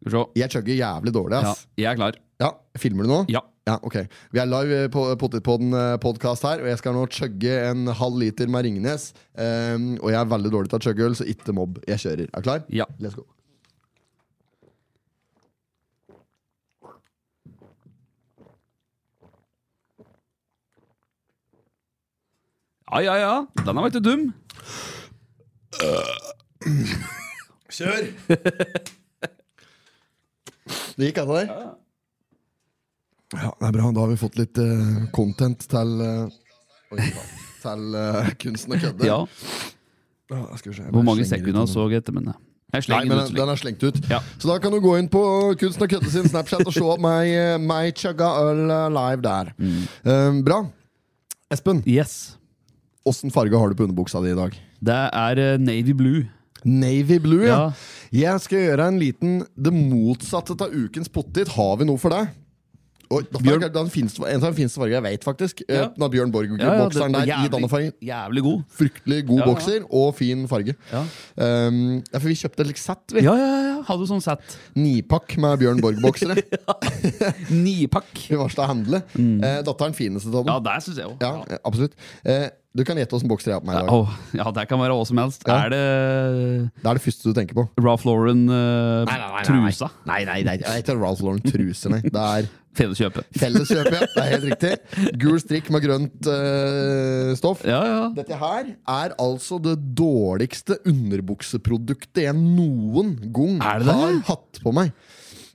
Speaker 2: Skal vi se.
Speaker 1: Jeg chugger jævlig dårlig.
Speaker 2: Ja,
Speaker 1: ass
Speaker 2: jeg er klar.
Speaker 1: Ja, Filmer du nå?
Speaker 2: Ja.
Speaker 1: ok Vi er live eh, på Potetpodden-podkast her, og jeg skal nå chugge en halv liter med Ringnes. Eh, og jeg er veldig dårlig til å chugge øl, så ikke mobb. Jeg kjører. Er du klar?
Speaker 2: Ja.
Speaker 1: Let's go.
Speaker 2: Ja, ja, ja. Den er vel ikke dum.
Speaker 1: Kjør! det gikk, altså? Der. Ja, det er bra. Da har vi fått litt eh, content til eh, Oi, faen. Til eh, kunsten å kødde.
Speaker 2: Ja.
Speaker 1: Ja, skal vi se, jeg
Speaker 2: Hvor
Speaker 1: bare slenger
Speaker 2: mange
Speaker 1: ut
Speaker 2: sekunder
Speaker 1: den.
Speaker 2: så jeg etter, men jeg
Speaker 1: Nei,
Speaker 2: slenger
Speaker 1: men
Speaker 2: den
Speaker 1: den,
Speaker 2: ut.
Speaker 1: den er slengt ut.
Speaker 2: Ja.
Speaker 1: Så da kan du gå inn på Kunsten å kødde sin Snapchat og se at meg, eh, meg chugga øl eh, live der.
Speaker 2: Mm.
Speaker 1: Eh, bra. Espen,
Speaker 2: Yes.
Speaker 1: åssen farge har du på underbuksa di i dag?
Speaker 2: Det er eh, navy blue.
Speaker 1: Navy blue, ja.
Speaker 2: Ja.
Speaker 1: Jeg skal gjøre en liten Det motsatte av ukens pottit. Har vi noe for deg? Og da,
Speaker 2: Bjørn-
Speaker 1: den finnes, en av de fineste fargene jeg vet, faktisk.
Speaker 2: Ja.
Speaker 1: Eh, Den har Bjørn
Speaker 2: det-
Speaker 1: Borg-bokseren der i
Speaker 2: jævlig,
Speaker 1: Dannefang.
Speaker 2: jævlig god.
Speaker 1: Fryktelig god
Speaker 2: Ja, ja.
Speaker 1: bokser og fin farge.
Speaker 2: Ja.
Speaker 1: Um, ja, for vi kjøpte et like, sett, vi.
Speaker 2: Ja, ja, ja. Hadde du sånn sett?
Speaker 1: Nipakk med Bjørn Borg-boksere.
Speaker 2: Nipakk.
Speaker 1: Vi varsla å handle. Eh, datteren fineste av
Speaker 2: Mm. Ja,
Speaker 1: dem.
Speaker 2: det syns jeg òg.
Speaker 1: Ja, eh, absolutt. Eh, du kan gjette åssen bokser jeg har på meg i dag.
Speaker 2: Åh, ja, det kan være hva som helst.
Speaker 1: Ja.
Speaker 2: Er det
Speaker 1: Det er det første du tenker på.
Speaker 2: Ralph eh, Lauren-trusa?
Speaker 1: Nei, nei, nei. Det er ikke Ralph Lauren-truse, nei. Det er
Speaker 2: Felleskjøpet.
Speaker 1: Felleskjøp, ja. Det er helt riktig. Gul strikk med grønt eh, stoff.
Speaker 2: Ja, ja.
Speaker 1: Dette her er altså det dårligste underbukseproduktet jeg noen gang
Speaker 2: Er det det?
Speaker 1: har hatt på meg.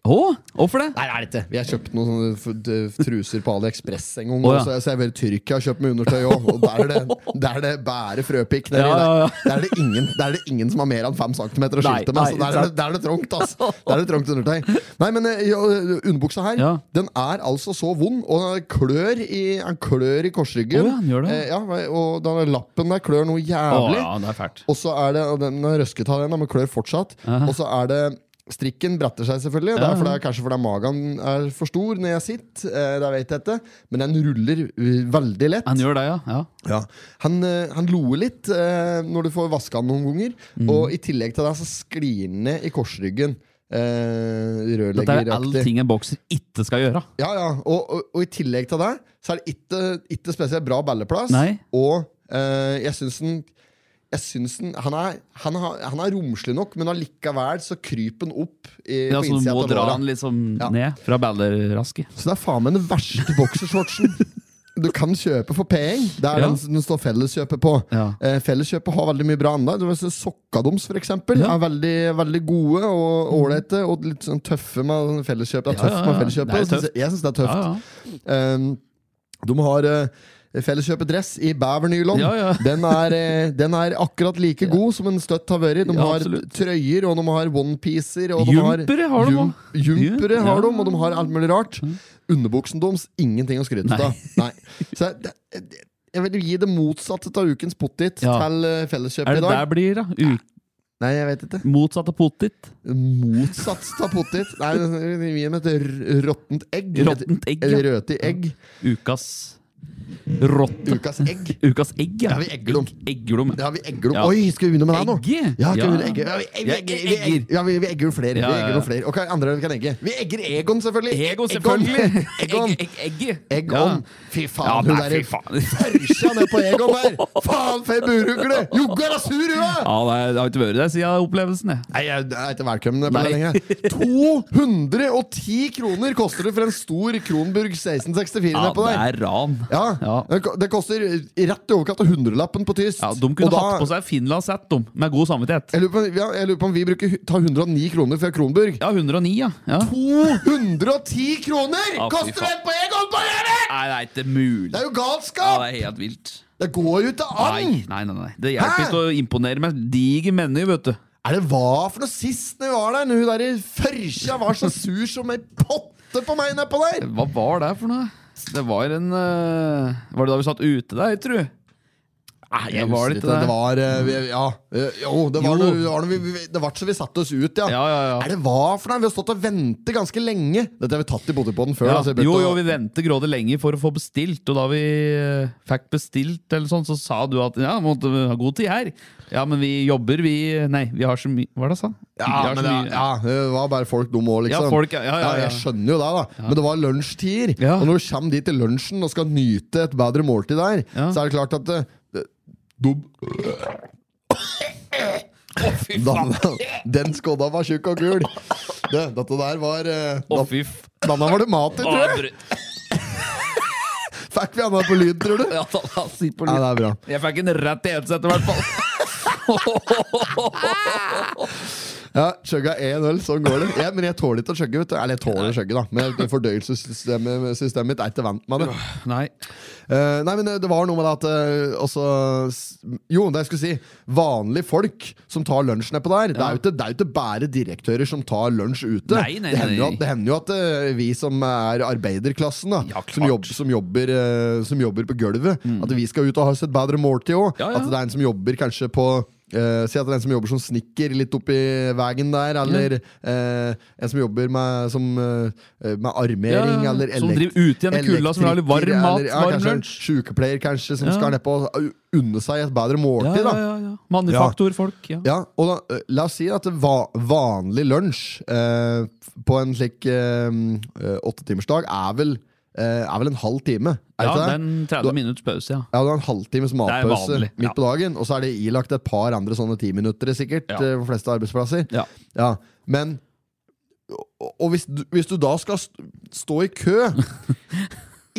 Speaker 2: Å, hvorfor det?
Speaker 1: Nei, det er det ikke. Vi har kjøpt noen sånne f d- truser på AliExpress en gang.
Speaker 2: Å, ja.
Speaker 1: og så jeg- så jeg vet Tyrkia har kjøpt med undertøy òg, og der er det, der er det bare frøpikk. nedi
Speaker 2: Ja, ja, ja.
Speaker 1: Der. Der, er det ingen, der er det ingen som har mer enn fem centimeter å
Speaker 2: Nei,
Speaker 1: skilte med.
Speaker 2: nei,
Speaker 1: Så der er det, der er det trangt, ass. Der er det trangt undertøy. Nei, men eh, ja, underbuksa her,
Speaker 2: Ja.
Speaker 1: den er altså så vond, og den klør i, den klør i korsryggen.
Speaker 2: Å, ja, den gjør det.
Speaker 1: Eh, ja, og den lappen der klør noe
Speaker 2: Å
Speaker 1: jævlig.
Speaker 2: ja, det er fælt.
Speaker 1: Og så er det og Den er røsket av den, men klør fortsatt. Og så er det Strikken bretter seg, selvfølgelig. Det er fordi, kanskje fordi magen er for stor når jeg sitter. Eh, det vet jeg ikke. Men den ruller eh, veldig lett.
Speaker 2: Han gjør det, ja. ja.
Speaker 1: Ja. Han, eh, han loer litt eh, når du får vaska han noen ganger.
Speaker 2: Mm.
Speaker 1: Og i tillegg til det så sklir han ned i korsryggen. Eh,
Speaker 2: Dette er alle
Speaker 1: Rørleggeraktig.
Speaker 2: ting en bokser ikke skal gjøre.
Speaker 1: Ja, ja. Og, og, og i tillegg til det så er det ikke, ikke spesielt bra balleplass.
Speaker 2: Nei.
Speaker 1: Og eh, jeg syns den jeg synes den, han, er, han, har- han er romslig nok, men allikevel så kryper han opp i, på
Speaker 2: Ja, så du
Speaker 1: innsida
Speaker 2: må
Speaker 1: av
Speaker 2: dra
Speaker 1: låra.
Speaker 2: han liksom
Speaker 1: Ja.
Speaker 2: ned fra ballerrasket.
Speaker 1: Så det er faen meg den verste boksershortsen du kan kjøpe for penger. Det er
Speaker 2: Ja.
Speaker 1: den som det står Felleskjøpet på.
Speaker 2: Ja.
Speaker 1: Eh, felleskjøpet har veldig mye bra enda. Du vet, Sokka deres, for eksempel,
Speaker 2: Ja. Mm.
Speaker 1: er veldig, veldig gode og ålreite. Og litt sånn tøffe med sånn felleskjøp. Det er
Speaker 2: Ja,
Speaker 1: tøft
Speaker 2: ja,
Speaker 1: med
Speaker 2: ja.
Speaker 1: felleskjøpet.
Speaker 2: Det
Speaker 1: Jeg
Speaker 2: er jo
Speaker 1: synes- Jeg syns det er tøft.
Speaker 2: Ja, ja.
Speaker 1: Um, de har uh, Felleskjøpet-dress i bævernylon.
Speaker 2: Ja, ja.
Speaker 1: Den, er, eh, den er akkurat like god som en støtt har vært. De
Speaker 2: Ja,
Speaker 1: har
Speaker 2: absolutt.
Speaker 1: trøyer, og de har onepiecer. og
Speaker 2: Jumpere har de
Speaker 1: jum-
Speaker 2: også.
Speaker 1: Jumpere
Speaker 2: Ja. Mm.
Speaker 1: har de, og de har alt mulig rart. Underbuksen deres, ingenting å skryte av. Nei. Så jeg- det- det- jeg vil gi det motsatte av ukens pottit
Speaker 2: Ja.
Speaker 1: til eh, Felleskjøpet
Speaker 2: Er
Speaker 1: i
Speaker 2: det der
Speaker 1: dag.
Speaker 2: blir, da? U
Speaker 1: Nei, jeg vet ikke.
Speaker 2: motsatte potet?
Speaker 1: Motsatt av pottit. Nei, vi gir dem et r- råttent egg.
Speaker 2: Råttent egg, ja.
Speaker 1: Et røti egg.
Speaker 2: Ukas rotte.
Speaker 1: Ukas egg.
Speaker 2: Ukas egg,
Speaker 1: Ja, vi egger dem.
Speaker 2: Eggelom.
Speaker 1: Ja, vi egger dem.
Speaker 2: Ja.
Speaker 1: Oi, skal vi begynne med deg nå?
Speaker 2: Egge?
Speaker 1: Ja, skal vi
Speaker 2: Ja.
Speaker 1: begynne å egge? ja, vi, vi,
Speaker 2: Ja,
Speaker 1: egger, vi,
Speaker 2: egger.
Speaker 1: egger, ja, vi, vi egger jo flere.
Speaker 2: Ja,
Speaker 1: vi
Speaker 2: ja,
Speaker 1: egger jo
Speaker 2: ja.
Speaker 1: flere. Ok, andre vi kan egge. Vi egger Egon, selvfølgelig.
Speaker 2: Ego, selvfølgelig!
Speaker 1: Egon.
Speaker 2: Egg, egg, egg.
Speaker 1: Egg
Speaker 2: Ja.
Speaker 1: on. Fy faen,
Speaker 2: Ja,
Speaker 1: hun
Speaker 2: nei,
Speaker 1: der
Speaker 2: fy faen.
Speaker 1: Tørsa ned på Egon der! Faen, for ei burhugle! Jogga er sur, hun er!
Speaker 2: Ja, det er- det har ikke vært det siden opplevelsen, jeg.
Speaker 1: Nei, jeg jeg er ikke velkommen på det
Speaker 2: Nei.
Speaker 1: lenge. 210 kroner koster det for en stor Kronburg 1664
Speaker 2: Ja,
Speaker 1: nedpå
Speaker 2: det
Speaker 1: der.
Speaker 2: er ran.
Speaker 1: Ja.
Speaker 2: Ja.
Speaker 1: Det ko- Det koster rett i overkant av hundrelappen på tyst.
Speaker 2: Ja, De kunne
Speaker 1: Og da-
Speaker 2: hatt på seg Finlandshett, de, med god samvittighet.
Speaker 1: Jeg lurer, på, ja, jeg lurer på om vi bruker, hu- tar 109 kroner fra Kronburg.
Speaker 2: Ja, 109, ja. ja.
Speaker 1: 210 kroner
Speaker 2: Ja, fy
Speaker 1: koster
Speaker 2: faen.
Speaker 1: det på Egon på Gjerde!
Speaker 2: Nei, det er ikke mulig.
Speaker 1: Det er jo
Speaker 2: Ja,
Speaker 1: galskap!
Speaker 2: det er helt vilt.
Speaker 1: Det går jo ikke an!
Speaker 2: Nei, nei, nei, nei. Det
Speaker 1: Hæ?
Speaker 2: hjelper ikke å imponere med diger meny, vet du.
Speaker 1: Er det hva for noe sist når vi var der? Når hun der i førkja var så sur som ei potte på meg nedpå der!
Speaker 2: Hva var det for noe? Det var en eh, Var det da vi satt ute der, tror du? Nei,
Speaker 1: Jeg
Speaker 2: jeg var
Speaker 1: husker
Speaker 2: litt
Speaker 1: ikke.
Speaker 2: der.
Speaker 1: Det var eh, vi, Ja. eh, Jo, det var,
Speaker 2: Jo.
Speaker 1: Når, det var når vi, vi, det var så vi satte oss ut, ja.
Speaker 2: Ja, ja, ja.
Speaker 1: Er det hva for noe? Vi har stått og ventet ganske lenge. Dette har vi tatt i Potipodden før.
Speaker 2: Ja.
Speaker 1: da, så jeg begynte
Speaker 2: Jo, jo,
Speaker 1: å-
Speaker 2: vi ventet grådig lenge for å få bestilt, og da vi eh, fikk bestilt, eller sånn, så sa du at ja, måtte ha god tid her. Ja, men vi jobber, vi Nei, vi har så mye Hva er det jeg sa?
Speaker 1: ja,
Speaker 2: Vi har
Speaker 1: men
Speaker 2: så
Speaker 1: det,
Speaker 2: mye-
Speaker 1: ja, det var bare folk dumme òg, liksom.
Speaker 2: Ja, folk, ja, ja, ja, ja.
Speaker 1: Jeg skjønner jo det, da. Men det var lunsjtider.
Speaker 2: Ja.
Speaker 1: Og når du kommer dit til lunsjen og skal nyte et bedre måltid der,
Speaker 2: Ja.
Speaker 1: så er det klart at eh, dum- Dan- Den skodda var tjukk og gul. Det, dette der var eh,
Speaker 2: Å,
Speaker 1: da-
Speaker 2: fy f...
Speaker 1: Denne var det mat i,
Speaker 2: Å,
Speaker 1: tror jeg!
Speaker 2: brø-
Speaker 1: Fikk vi annet på lyd, tror du?
Speaker 2: Ja, da, da, sitt på
Speaker 1: Nei,
Speaker 2: lyd.
Speaker 1: det er bra.
Speaker 2: Jeg fikk en rett i eneste etter hvert fall.
Speaker 1: Ja, Chugga én øl, sånn går det. Jeg, men jeg tåler ikke å chugge. vet du. Eller jeg tåler å chugge, da. Men fordøyelsessystemet systemet mitt er ikke vant med det.
Speaker 2: Nei.
Speaker 1: Eh, nei, men eh, det var noe med det at eh, også, s- Jo, det jeg skulle si. Vanlige folk som tar lunsj nedpå der. Det er jo ikke, det er jo ikke bare direktører som tar lunsj ute.
Speaker 2: Nei, nei,
Speaker 1: det, hender jo
Speaker 2: nei.
Speaker 1: at, det hender jo at eh, vi som er arbeiderklassen, da,
Speaker 2: Ja, klart. Mm.
Speaker 1: som, jobb, som, jobber, eh, som jobber på gulvet, at vi skal ut og ha oss et bedre måltid òg.
Speaker 2: Ja, ja.
Speaker 1: At det er en som jobber kanskje på eh, si at det er en som jobber som snekker litt oppi veien der, eller eh, en som jobber med, som, eh, med armering,
Speaker 2: Ja,
Speaker 1: eller
Speaker 2: som driver ute i en kulda, som vil ha litt varm
Speaker 1: elektriker,
Speaker 2: mat, varm
Speaker 1: kanskje en
Speaker 2: lunsj.
Speaker 1: Sykepleier, kanskje, som
Speaker 2: Ja.
Speaker 1: skal nedpå og unne seg et bedre
Speaker 2: Ja,
Speaker 1: måltid.
Speaker 2: ja,
Speaker 1: da
Speaker 2: ja, ja. Manufaktorfolk. Ja.
Speaker 1: ja, og da, eh, La oss si at det va vanlig lunsj eh, på en slik eh, eh, åttetimersdag er, vel, eh, er vel en halv time? Er
Speaker 2: Ja,
Speaker 1: ikke det?
Speaker 2: den 30 minutts pause, ja.
Speaker 1: Ja, du har en halvtimes matpause
Speaker 2: vanlig,
Speaker 1: midt
Speaker 2: ja.
Speaker 1: på dagen, og så er det ilagt et par andre sånne timinuttere, sikkert,
Speaker 2: Ja.
Speaker 1: eh, på de fleste arbeidsplasser.
Speaker 2: Ja.
Speaker 1: Ja, men Og, og hvis, du, hvis du da skal st stå i kø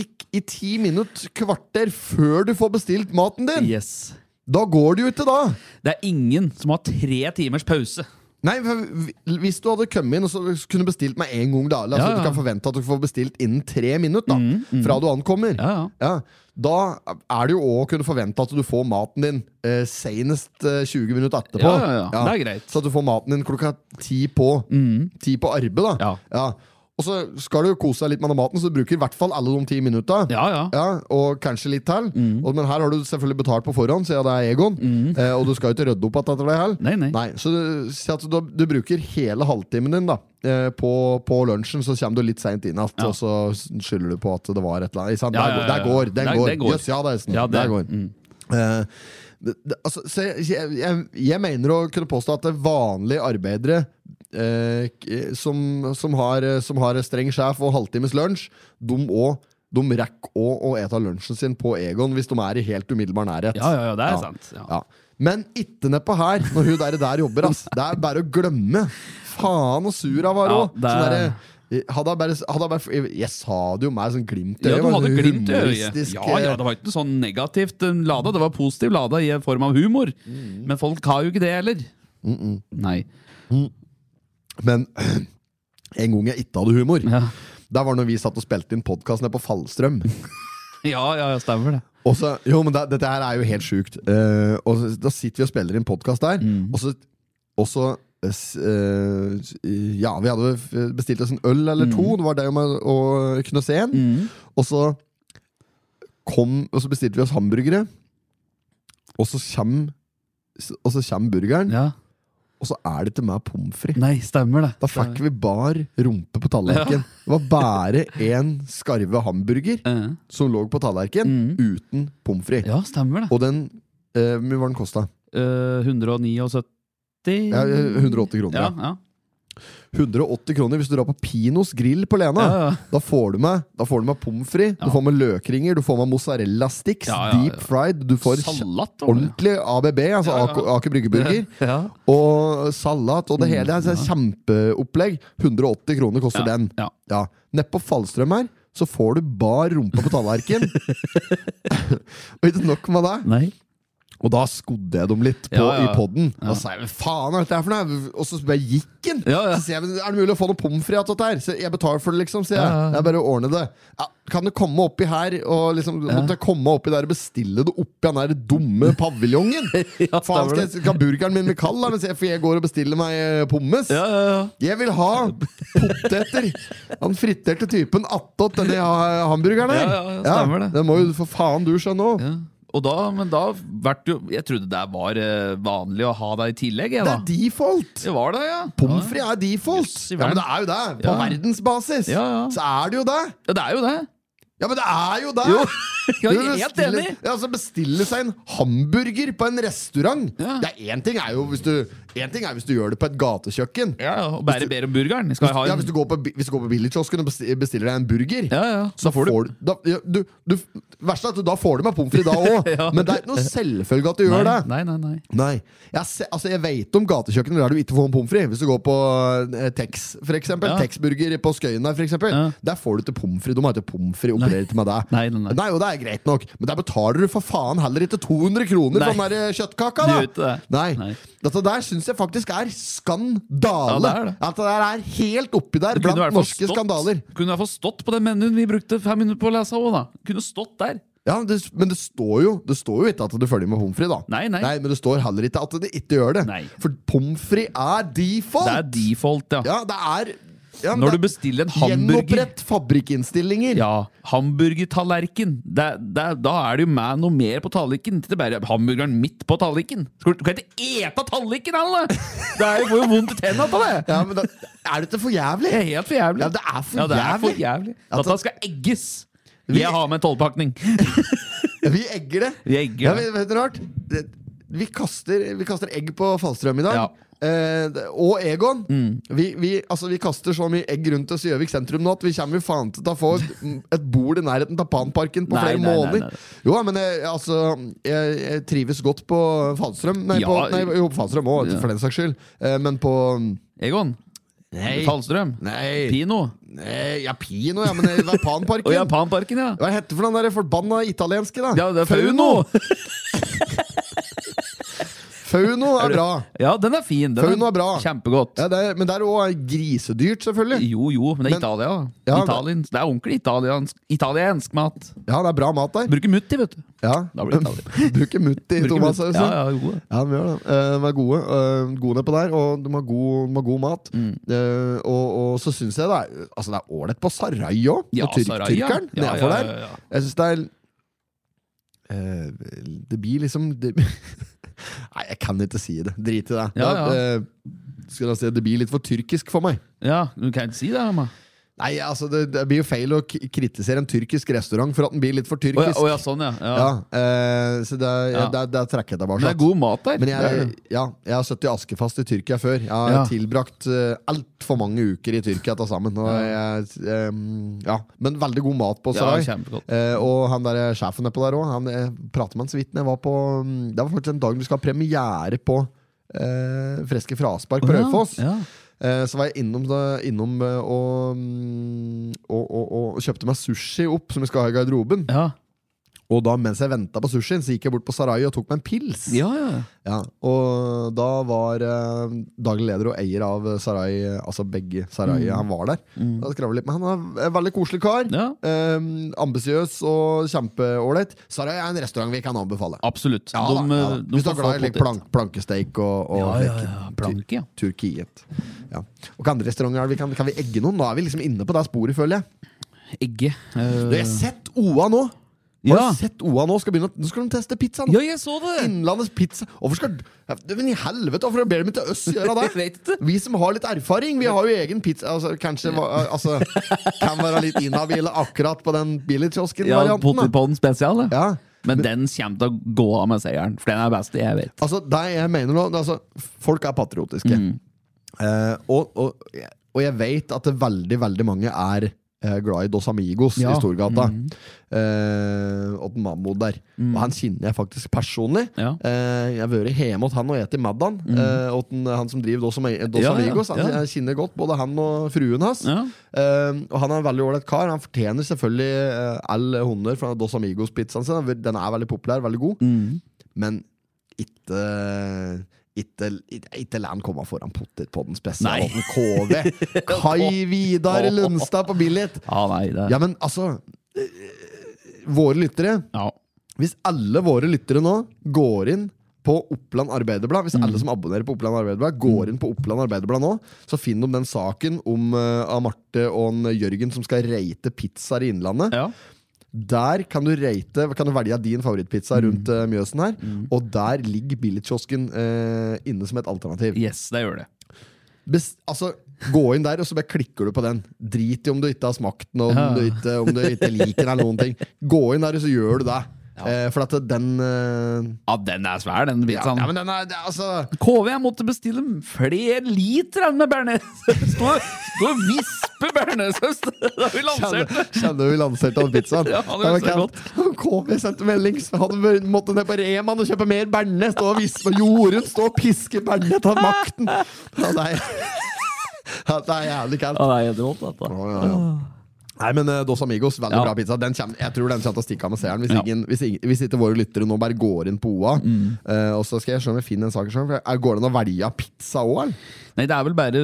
Speaker 1: ikk- i ti minutter, kvarter, før du får bestilt maten din,
Speaker 2: Yes.
Speaker 1: da går det jo ikke da!
Speaker 2: Det er ingen som har tre timers pause.
Speaker 1: Nei, for hvi- Hvis du hadde kommet inn og så kunne bestilt med en gang, da La oss si at
Speaker 2: Ja, ja.
Speaker 1: Du
Speaker 2: Mm,
Speaker 1: kan forvente at du får bestilt innen tre minutter da, fra du ankommer.
Speaker 2: Ja, ja.
Speaker 1: Da er det jo òg å kunne forvente at du får maten din eh, senest eh, 20 minutter etterpå.
Speaker 2: Ja, ja, ja. Det er greit. Mm.
Speaker 1: Så at du får maten din klokka ti på, ti på arbeid. da
Speaker 2: Ja.
Speaker 1: Og så skal du jo kose deg litt med den maten, så du bruker i hvert fall alle de ti minutta.
Speaker 2: Ja, ja. Mm.
Speaker 1: og kanskje litt til. Og- Men her har du selvfølgelig betalt på forhånd, siden det er Egon. Eh, og du skal jo ikke rydde opp igjen etter deg heller.
Speaker 2: Nei, nei.
Speaker 1: Nei, så du, si at du, du bruker hele halvtimen din da eh, på, på lunsjen, så kommer du litt seint inn igjen,
Speaker 2: Ja.
Speaker 1: og så skylder du på at det var et eller annet. Ikke sant?
Speaker 2: Ja,
Speaker 1: Der
Speaker 2: ja,
Speaker 1: går-
Speaker 2: ja,
Speaker 1: Der går, den
Speaker 2: der-
Speaker 1: går.
Speaker 2: der går.
Speaker 1: Jøss, ja, det er sånn.
Speaker 2: Ja,
Speaker 1: der
Speaker 2: det- mm.
Speaker 1: går. den. Eh, det, det, altså, så jeg, jeg, jeg, jeg mener å kunne påstå at det er vanlige arbeidere eh, k- som, som, har, som har streng sjef og halvtimes lunsj, de, også, de rekker òg å ete lunsjen sin på Egon hvis de er i helt umiddelbar nærhet.
Speaker 2: Ja, ja, ja, det er sant. Ja.
Speaker 1: Ja. Men ikke nedpå her, når hun der, der jobber. Ass. Det er bare å glemme. Faen og sur han var
Speaker 2: Ja,
Speaker 1: òg.
Speaker 2: det er-
Speaker 1: Hadde jeg bare, hadde jeg, bare jeg, sa det jo med sånn glimt i
Speaker 2: Ja,
Speaker 1: øyet.
Speaker 2: du
Speaker 1: men
Speaker 2: hadde
Speaker 1: sånn
Speaker 2: glimt i øyet.
Speaker 1: humoristisk,
Speaker 2: Ja, ja, det var ikke noe sånn negativt eh, lada, det var positiv lada i en form av humor.
Speaker 1: Mm.
Speaker 2: Men folk har jo ikke det heller. Nei.
Speaker 1: Men en gang jeg ikke hadde humor,
Speaker 2: Ja.
Speaker 1: det var når vi satt og spilte inn podkast nede på Fallstrøm.
Speaker 2: ja, ja, ja, stemmer det.
Speaker 1: Og så, jo, men det, dette her er jo helt sjukt. Eh, og så, da sitter vi og spiller inn podkast der, og så, og så eh, s- eh, s- Ja, vi hadde f- bestilt oss en øl eller to. Det var det med å knøse en. Og så kom Og så bestilte vi oss hamburgere. Og så kommer Og så kommer burgeren,
Speaker 2: Ja. Mm.
Speaker 1: og så er det til meg pommes frites.
Speaker 2: Nei, stemmer det.
Speaker 1: Da fikk vi bar rumpe på tallerkenen. Det var bare én skarve hamburger
Speaker 2: Eh,
Speaker 1: som lå på tallerkenen, uten pommes frites.
Speaker 2: Ja, stemmer det.
Speaker 1: Og den eh, Hvor mye var den kosta?
Speaker 2: Eh, 179
Speaker 1: Ja, eh, 180 kroner.
Speaker 2: Ja,
Speaker 1: Ja.
Speaker 2: ja.
Speaker 1: 180 kroner hvis du drar på Pinos grill på Lena.
Speaker 2: Ja, ja.
Speaker 1: Da får du med, da får du med pommes frites,
Speaker 2: Ja.
Speaker 1: du får med løkringer, du får med mozzarella sticks,
Speaker 2: Ja, ja, ja.
Speaker 1: deep fried, du får kj-
Speaker 2: Salat. var det.
Speaker 1: ordentlig ABB, altså
Speaker 2: Ja, ja.
Speaker 1: Aker- Aker Bryggeburger,
Speaker 2: Ja. Mm,
Speaker 1: og salat og det hele. Altså, Kjempeopplegg. 180 kroner koster
Speaker 2: Ja,
Speaker 1: den.
Speaker 2: ja.
Speaker 1: Ja. Nede på Fallstrøm her så får du bar rumpe på tallerken. og ikke nok med det.
Speaker 2: Nei.
Speaker 1: Og da skodde jeg dem litt på,
Speaker 2: Ja, ja.
Speaker 1: i podden. Da sa jeg 'hva faen er dette her for noe?' Og så bare gikk den!
Speaker 2: Ja, ja.
Speaker 1: Så sier jeg, «Men er det mulig å få noe pommes frites av dette her? Så jeg betaler for det, liksom, sier jeg.
Speaker 2: Ja, ja, ja.
Speaker 1: Det er bare å ordne det. Ja, kan du komme oppi her og liksom Måtte jeg komme oppi der og bestille det oppi den der dumme paviljongen? faen, skal, jeg- skal burgeren min bli kald, da? Mens jeg, for jeg går og bestiller meg eh, pommes?
Speaker 2: Ja, ja, ja.
Speaker 1: Jeg vil ha poteter! Han friterte typen attåt denne ha- hamburgeren her.
Speaker 2: Ja, ja, ja, stemmer det.
Speaker 1: det må jo for faen du skjønne òg.
Speaker 2: Ja. Og da, men da vært jo, Jeg trodde det var eh, vanlig å ha deg i tillegg. Jeg,
Speaker 1: Det
Speaker 2: da.
Speaker 1: er default!
Speaker 2: Det var det, ja.
Speaker 1: Pommes frites er default!
Speaker 2: Jøss, i
Speaker 1: Ja,
Speaker 2: verden.
Speaker 1: men det er jo det! På
Speaker 2: Ja.
Speaker 1: verdensbasis
Speaker 2: Ja, ja.
Speaker 1: så er det jo det!
Speaker 2: ja. Det er jo det.
Speaker 1: Ja, men det er jo det!
Speaker 2: Jo, jeg
Speaker 1: Du
Speaker 2: er helt
Speaker 1: bestiller-
Speaker 2: enig.
Speaker 1: Ja, altså Bestille seg en hamburger på en restaurant.
Speaker 2: Ja.
Speaker 1: Det er Én ting er jo hvis du, en ting er hvis du gjør det på et gatekjøkken.
Speaker 2: Ja, ja, og Bare ber om burgeren. Skal jeg ha
Speaker 1: Ja,
Speaker 2: en?
Speaker 1: hvis, du går på, bi- hvis du går på billigkiosken og besti- bestiller deg en burger
Speaker 2: Ja, ja.
Speaker 1: Så får du, da, ja, du, du Verst er at du da får det med pommes frites da òg,
Speaker 2: Ja.
Speaker 1: men det er ikke noe selvfølge at du
Speaker 2: Nei,
Speaker 1: gjør det.
Speaker 2: nei, nei, nei.
Speaker 1: Nei. Jeg, se, altså, jeg vet om gatekjøkken der du ikke får en pommes frites. Hvis du går på eh, Tex, for eksempel.
Speaker 2: Ja.
Speaker 1: Tex-burger på Skøyen der, for eksempel.
Speaker 2: Ja.
Speaker 1: Der får du ikke pommes frites. De har ikke pommes frites operert med deg.
Speaker 2: Nei, nei, nei.
Speaker 1: og det er greit nok, men der betaler du for faen heller ikke 200 kroner
Speaker 2: Nei.
Speaker 1: for den der eh, kjøttkaka,
Speaker 2: Du
Speaker 1: da!
Speaker 2: gjør ikke det.
Speaker 1: Nei.
Speaker 2: Nei.
Speaker 1: Dette der syns jeg faktisk er
Speaker 2: Ja,
Speaker 1: skandale.
Speaker 2: det er det.
Speaker 1: At det der er helt oppi der
Speaker 2: Det kunne i
Speaker 1: blant
Speaker 2: hvert fall
Speaker 1: norske
Speaker 2: stått-
Speaker 1: skandaler.
Speaker 2: Kunne i hvert fall stått på den menyen vi brukte fem minutter på å lese òg, da. Kunne stått der.
Speaker 1: Ja, men det, men det står jo Det står jo ikke at du følger med pommes frites, da.
Speaker 2: Nei, nei.
Speaker 1: Men det står heller ikke at det ikke gjør det.
Speaker 2: Nei.
Speaker 1: For pommes frites er default!
Speaker 2: Det er default, ja.
Speaker 1: Ja, det er ja, men
Speaker 2: Når
Speaker 1: det-
Speaker 2: du bestiller en hamburger
Speaker 1: Gjenopprett fabrikkinnstillinger.
Speaker 2: Ja, hamburgertallerken. Det, det, da er det jo med noe mer på tallerkenen. Ikke bare hamburgeren midt på tallerkenen. Skal Du du kan ikke ete av tallerkenen, alle! Det er jo får jo vondt i tenna av det!
Speaker 1: Ja, men da, er dette for
Speaker 2: Det
Speaker 1: jævlig?
Speaker 2: er helt for jævlig.
Speaker 1: Ja, det er for
Speaker 2: Ja, det er for
Speaker 1: jævlig.
Speaker 2: jævlig.
Speaker 1: Altså-
Speaker 2: Dette skal egges!
Speaker 1: Vi-
Speaker 2: Jeg har med en tolvpakning.
Speaker 1: Vi egger det.
Speaker 2: Vi egger
Speaker 1: ja,
Speaker 2: det.
Speaker 1: men vet du rart? Det- Vi kaster, vi kaster egg på Falstrøm i dag.
Speaker 2: Ja. Mm.
Speaker 1: Eh, det- og Egon. Vi, vi, altså, vi kaster så mye egg rundt oss i Gjøvik sentrum nå at vi kommer jo faen til å få et- et bord i nærheten av Panparken på
Speaker 2: Nei,
Speaker 1: flere
Speaker 2: nei, nei,
Speaker 1: måneder.
Speaker 2: nei.
Speaker 1: Jo, ja, men jeg, altså, jeg, jeg trives godt på Falstrøm. Nei,
Speaker 2: Ja.
Speaker 1: på, nei jo, på Falstrøm òg, for den saks skyld. Eh, men på
Speaker 2: Egon.
Speaker 1: Nei.
Speaker 2: Falstrøm.
Speaker 1: Nei.
Speaker 2: Pino.
Speaker 1: Nei, ja, Pino, ja, men det var Panparken.
Speaker 2: Og Japanparken, ja.
Speaker 1: Hva heter det for den der forbanna italienske, da?
Speaker 2: Ja, det er Fauno!
Speaker 1: Fauno er bra.
Speaker 2: Ja, den er fin. Den
Speaker 1: Fauno er bra.
Speaker 2: Kjempegodt.
Speaker 1: Ja, det er, men det er òg grisedyrt, selvfølgelig.
Speaker 2: Jo, jo, men det er
Speaker 1: Men-
Speaker 2: Italia. da.
Speaker 1: Ja,
Speaker 2: Italien. Det er ordentlig italiensk, italiensk mat.
Speaker 1: Ja, det er bra mat der.
Speaker 2: Bruker mutti, vet du.
Speaker 1: Ja.
Speaker 2: Da blir det Italia.
Speaker 1: Bruker mutt i
Speaker 2: Bruker
Speaker 1: tomatsaus. sånn?
Speaker 2: mutti.
Speaker 1: Ja,
Speaker 2: Ja, ja, jo. da.
Speaker 1: de gjør det. Eh, De er gode, eh, gode nedpå der, og de har god, de har god mat.
Speaker 2: Mm.
Speaker 1: Eh, og, og så syns jeg det er Altså det er ålnedett på Sarai òg,
Speaker 2: Ja,
Speaker 1: på tyrk,
Speaker 2: Sarai, ja.
Speaker 1: tyrkeren
Speaker 2: Ja,
Speaker 1: nedfor
Speaker 2: ja,
Speaker 1: der.
Speaker 2: ja, ja.
Speaker 1: Jeg syns det er eh, Det blir liksom det, Nei, jeg kan ikke si det. Drit i det.
Speaker 2: Ja, ja.
Speaker 1: Da, eh, skal jeg si, det blir litt for tyrkisk for meg.
Speaker 2: Ja, du kan ikke si det. Emma.
Speaker 1: Nei, altså det, det blir jo feil å k- kritisere en tyrkisk restaurant for at den blir litt for
Speaker 2: Å ja,
Speaker 1: tyrkisk.
Speaker 2: å ja, sånn, ja. ja.
Speaker 1: Ja, eh, så det, ja.
Speaker 2: Ja.
Speaker 1: Der, der trekker jeg tilbake.
Speaker 2: Men det er god mat der.
Speaker 1: Men jeg,
Speaker 2: Det er det.
Speaker 1: ja, jeg har sittet i askefast i Tyrkia før. Jeg har
Speaker 2: Ja.
Speaker 1: tilbrakt uh, altfor mange uker i Tyrkia til sammen. Og jeg, ehm, ja. Men veldig god mat på
Speaker 2: Ja,
Speaker 1: Sarai.
Speaker 2: kjempegodt.
Speaker 1: Eh, og han der, sjefen nedpå der òg, han eh, prater med han så vidt. når jeg var på, mm, Det var faktisk en dag du skal ha premiere på eh, Freske fraspark på
Speaker 2: Å ja,
Speaker 1: Raufoss.
Speaker 2: ja.
Speaker 1: Eh, Så var jeg innom, da, innom eh, og, mm, og, og, og kjøpte meg sushi opp, som vi skal ha i garderoben.
Speaker 2: Ja.
Speaker 1: Og da, mens jeg venta på sushien, så gikk jeg bort på Sarai og tok meg en pils.
Speaker 2: ja, ja.
Speaker 1: Ja, og da var eh, daglig leder og eier av Sarai, eh, altså begge Sarai, han var der. Da skrev jeg litt med han. Han er en veldig koselig kar.
Speaker 2: Mm. Ja.
Speaker 1: Um, Ambisiøs og kjempeålreit. Sarai er en restaurant vi kan anbefale.
Speaker 2: Absolutt.
Speaker 1: Ja, da,
Speaker 2: De,
Speaker 1: ja, da.
Speaker 2: de
Speaker 1: Hvis du
Speaker 2: får
Speaker 1: er
Speaker 2: få
Speaker 1: glad i
Speaker 2: potet.
Speaker 1: like, plank, plankesteik og, og
Speaker 2: Ja, ja,
Speaker 1: like,
Speaker 2: ja. Planke, ja.
Speaker 1: Tur- Turkiet. Ja. Og hva andre restauranter er det vi kan, kan vi egge noen? Nå er vi liksom inne på det sporet, føler jeg.
Speaker 2: Egge. Eh,
Speaker 1: Du, jeg har sett OA nå! Har
Speaker 2: Ja.
Speaker 1: du sett OA Nå skal begynne, å- nå skal de teste pizza nå.
Speaker 2: ja, jeg så det!
Speaker 1: Innlandets pizza. Hvorfor skal Ja, Men i helvete, hvorfor ber de ikke oss gjøre det?
Speaker 2: Jeg vet ikke.
Speaker 1: Vi som har litt erfaring, vi har jo egen pizza. Altså, kanskje va- altså, kan være litt inhabile akkurat på den
Speaker 2: Ja,
Speaker 1: billigkiosken-varianten.
Speaker 2: Potetpodden spesial.
Speaker 1: Ja.
Speaker 2: Men den kommer til å gå av med seieren, for den er best jeg vet.
Speaker 1: Altså, det jeg mener nå det er altså, Folk er patriotiske. Eh, og, og, og jeg vet at det veldig, veldig mange er eh, glad i Dos Amigos
Speaker 2: Ja.
Speaker 1: i Storgata. Eh, og den Mahmoud der. Og han kjenner jeg faktisk personlig.
Speaker 2: Ja.
Speaker 1: Eh, jeg har vært hjemme hos han og spist middag. Eh, og den, han som driver Dos, Ami- Dos
Speaker 2: Mhm. Ja, ja,
Speaker 1: Amigos. Han,
Speaker 2: ja.
Speaker 1: Jeg kjenner godt både han og fruen hans.
Speaker 2: Ja.
Speaker 1: Eh, og han er en veldig ålreit kar. Han fortjener selvfølgelig eh, all honnør for Dos Amigos-pizzaen sin. Den er veldig populær, veldig god.
Speaker 2: Mhm.
Speaker 1: Men ikke ikke, ikke, ikke la han komme foran potetpodden
Speaker 2: Nei.
Speaker 1: spesialen KV. Kai Vidar Lundstad på Billit.
Speaker 2: Ja, nei, det
Speaker 1: Ja, men altså eh, Våre lyttere
Speaker 2: Ja.
Speaker 1: Hvis alle våre lyttere nå går inn på Oppland Arbeiderblad Hvis
Speaker 2: Mm.
Speaker 1: alle som abonnerer på Oppland Arbeiderblad, går inn på Oppland Arbeiderblad nå, så finner de den saken om eh, av Marte og en Jørgen som skal reite pizzaer i Innlandet.
Speaker 2: Ja.
Speaker 1: Der kan du rate Kan du velge din favorittpizza
Speaker 2: Mm.
Speaker 1: rundt eh, Mjøsen her. Og der ligger billigkiosken eh, inne som et alternativ.
Speaker 2: Yes, det gjør det.
Speaker 1: Bes- altså, gå inn der, og så bare klikker du på den. Drit i om du ikke har smakt den, og om,
Speaker 2: Ja.
Speaker 1: du ikke, om du ikke liker den. eller noen ting Gå inn der, og så gjør du det. Eh, for at den eh,
Speaker 2: Ja, den er svær, den
Speaker 1: ja,
Speaker 2: pizzaen.
Speaker 1: ja, men den er det er altså
Speaker 2: KV, jeg måtte bestille flere liter enn med bearnéssaus. Stå stå og vispe bearnéssaus da vi lanserte!
Speaker 1: Kjenner kjenner du vi lanserte den pizzaen?
Speaker 2: Ja, det gjør så godt.
Speaker 1: KV sendte melding, så han bør- måtte ned på Reman og kjøpe mer berne. Stå og vispe og Jorunn, stå og piske berne, ta makten! Ja, det er, ja, det er jævlig kaldt.
Speaker 2: det er helt rått, dette.
Speaker 1: Ja, ja, ja. Nei, men eh, Dos Amigos, veldig
Speaker 2: Ja.
Speaker 1: bra pizza. Den kjem, jeg tror den kommer til å stikke av med seeren. Hvis,
Speaker 2: Ja. Mm.
Speaker 1: ingen, hvis, ingen, hvis ikke våre lyttere nå bare går inn på OA. eh, og så skal jeg se om jeg finner en sak sjøl. Går det an å velge pizza òg, eller?
Speaker 2: Nei, det er vel bare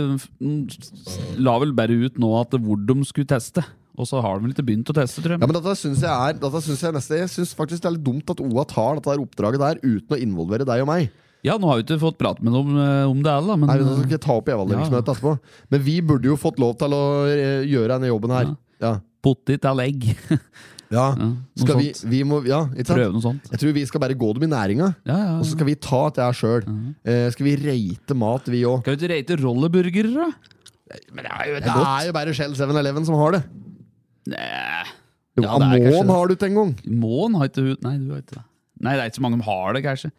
Speaker 2: La vel bare ut nå at hvor de skulle teste. Og så har de vel ikke begynt å teste, tror jeg.
Speaker 1: Ja, men dette synes jeg er dette synes jeg, nesten, jeg synes faktisk det er litt dumt at OA tar dette her oppdraget der uten å involvere deg og meg.
Speaker 2: Ja, nå har vi ikke fått prate med dem eh, om det heller, men eh,
Speaker 1: Nei, vi skal ikke ta opp i evalueringsmøtet etterpå. Men vi burde jo fått lov til å eh, gjøre denne jobben her. Ja.
Speaker 2: potet eller egg.
Speaker 1: ja.
Speaker 2: Ja, noe
Speaker 1: Skal vi,
Speaker 2: sånt.
Speaker 1: vi må, ja, ikke sant?
Speaker 2: Prøve noe sånt.
Speaker 1: Jeg tror vi skal bare gå dem i næringa.
Speaker 2: Ja, ja.
Speaker 1: Og så skal vi ta det her sjøl. Eh, skal vi rate mat, vi òg?
Speaker 2: Skal vi ikke rate rolleburgere, da?
Speaker 1: Men det er jo, det er jo bare Shell 7-Eleven som har det.
Speaker 2: Nei.
Speaker 1: Jo,
Speaker 2: Ja, det er kanskje
Speaker 1: Amon
Speaker 2: det.
Speaker 1: har du til en gang.
Speaker 2: Mån har ikke hud Nei, du har ikke det. Nei, det er ikke så mange som har det, kanskje.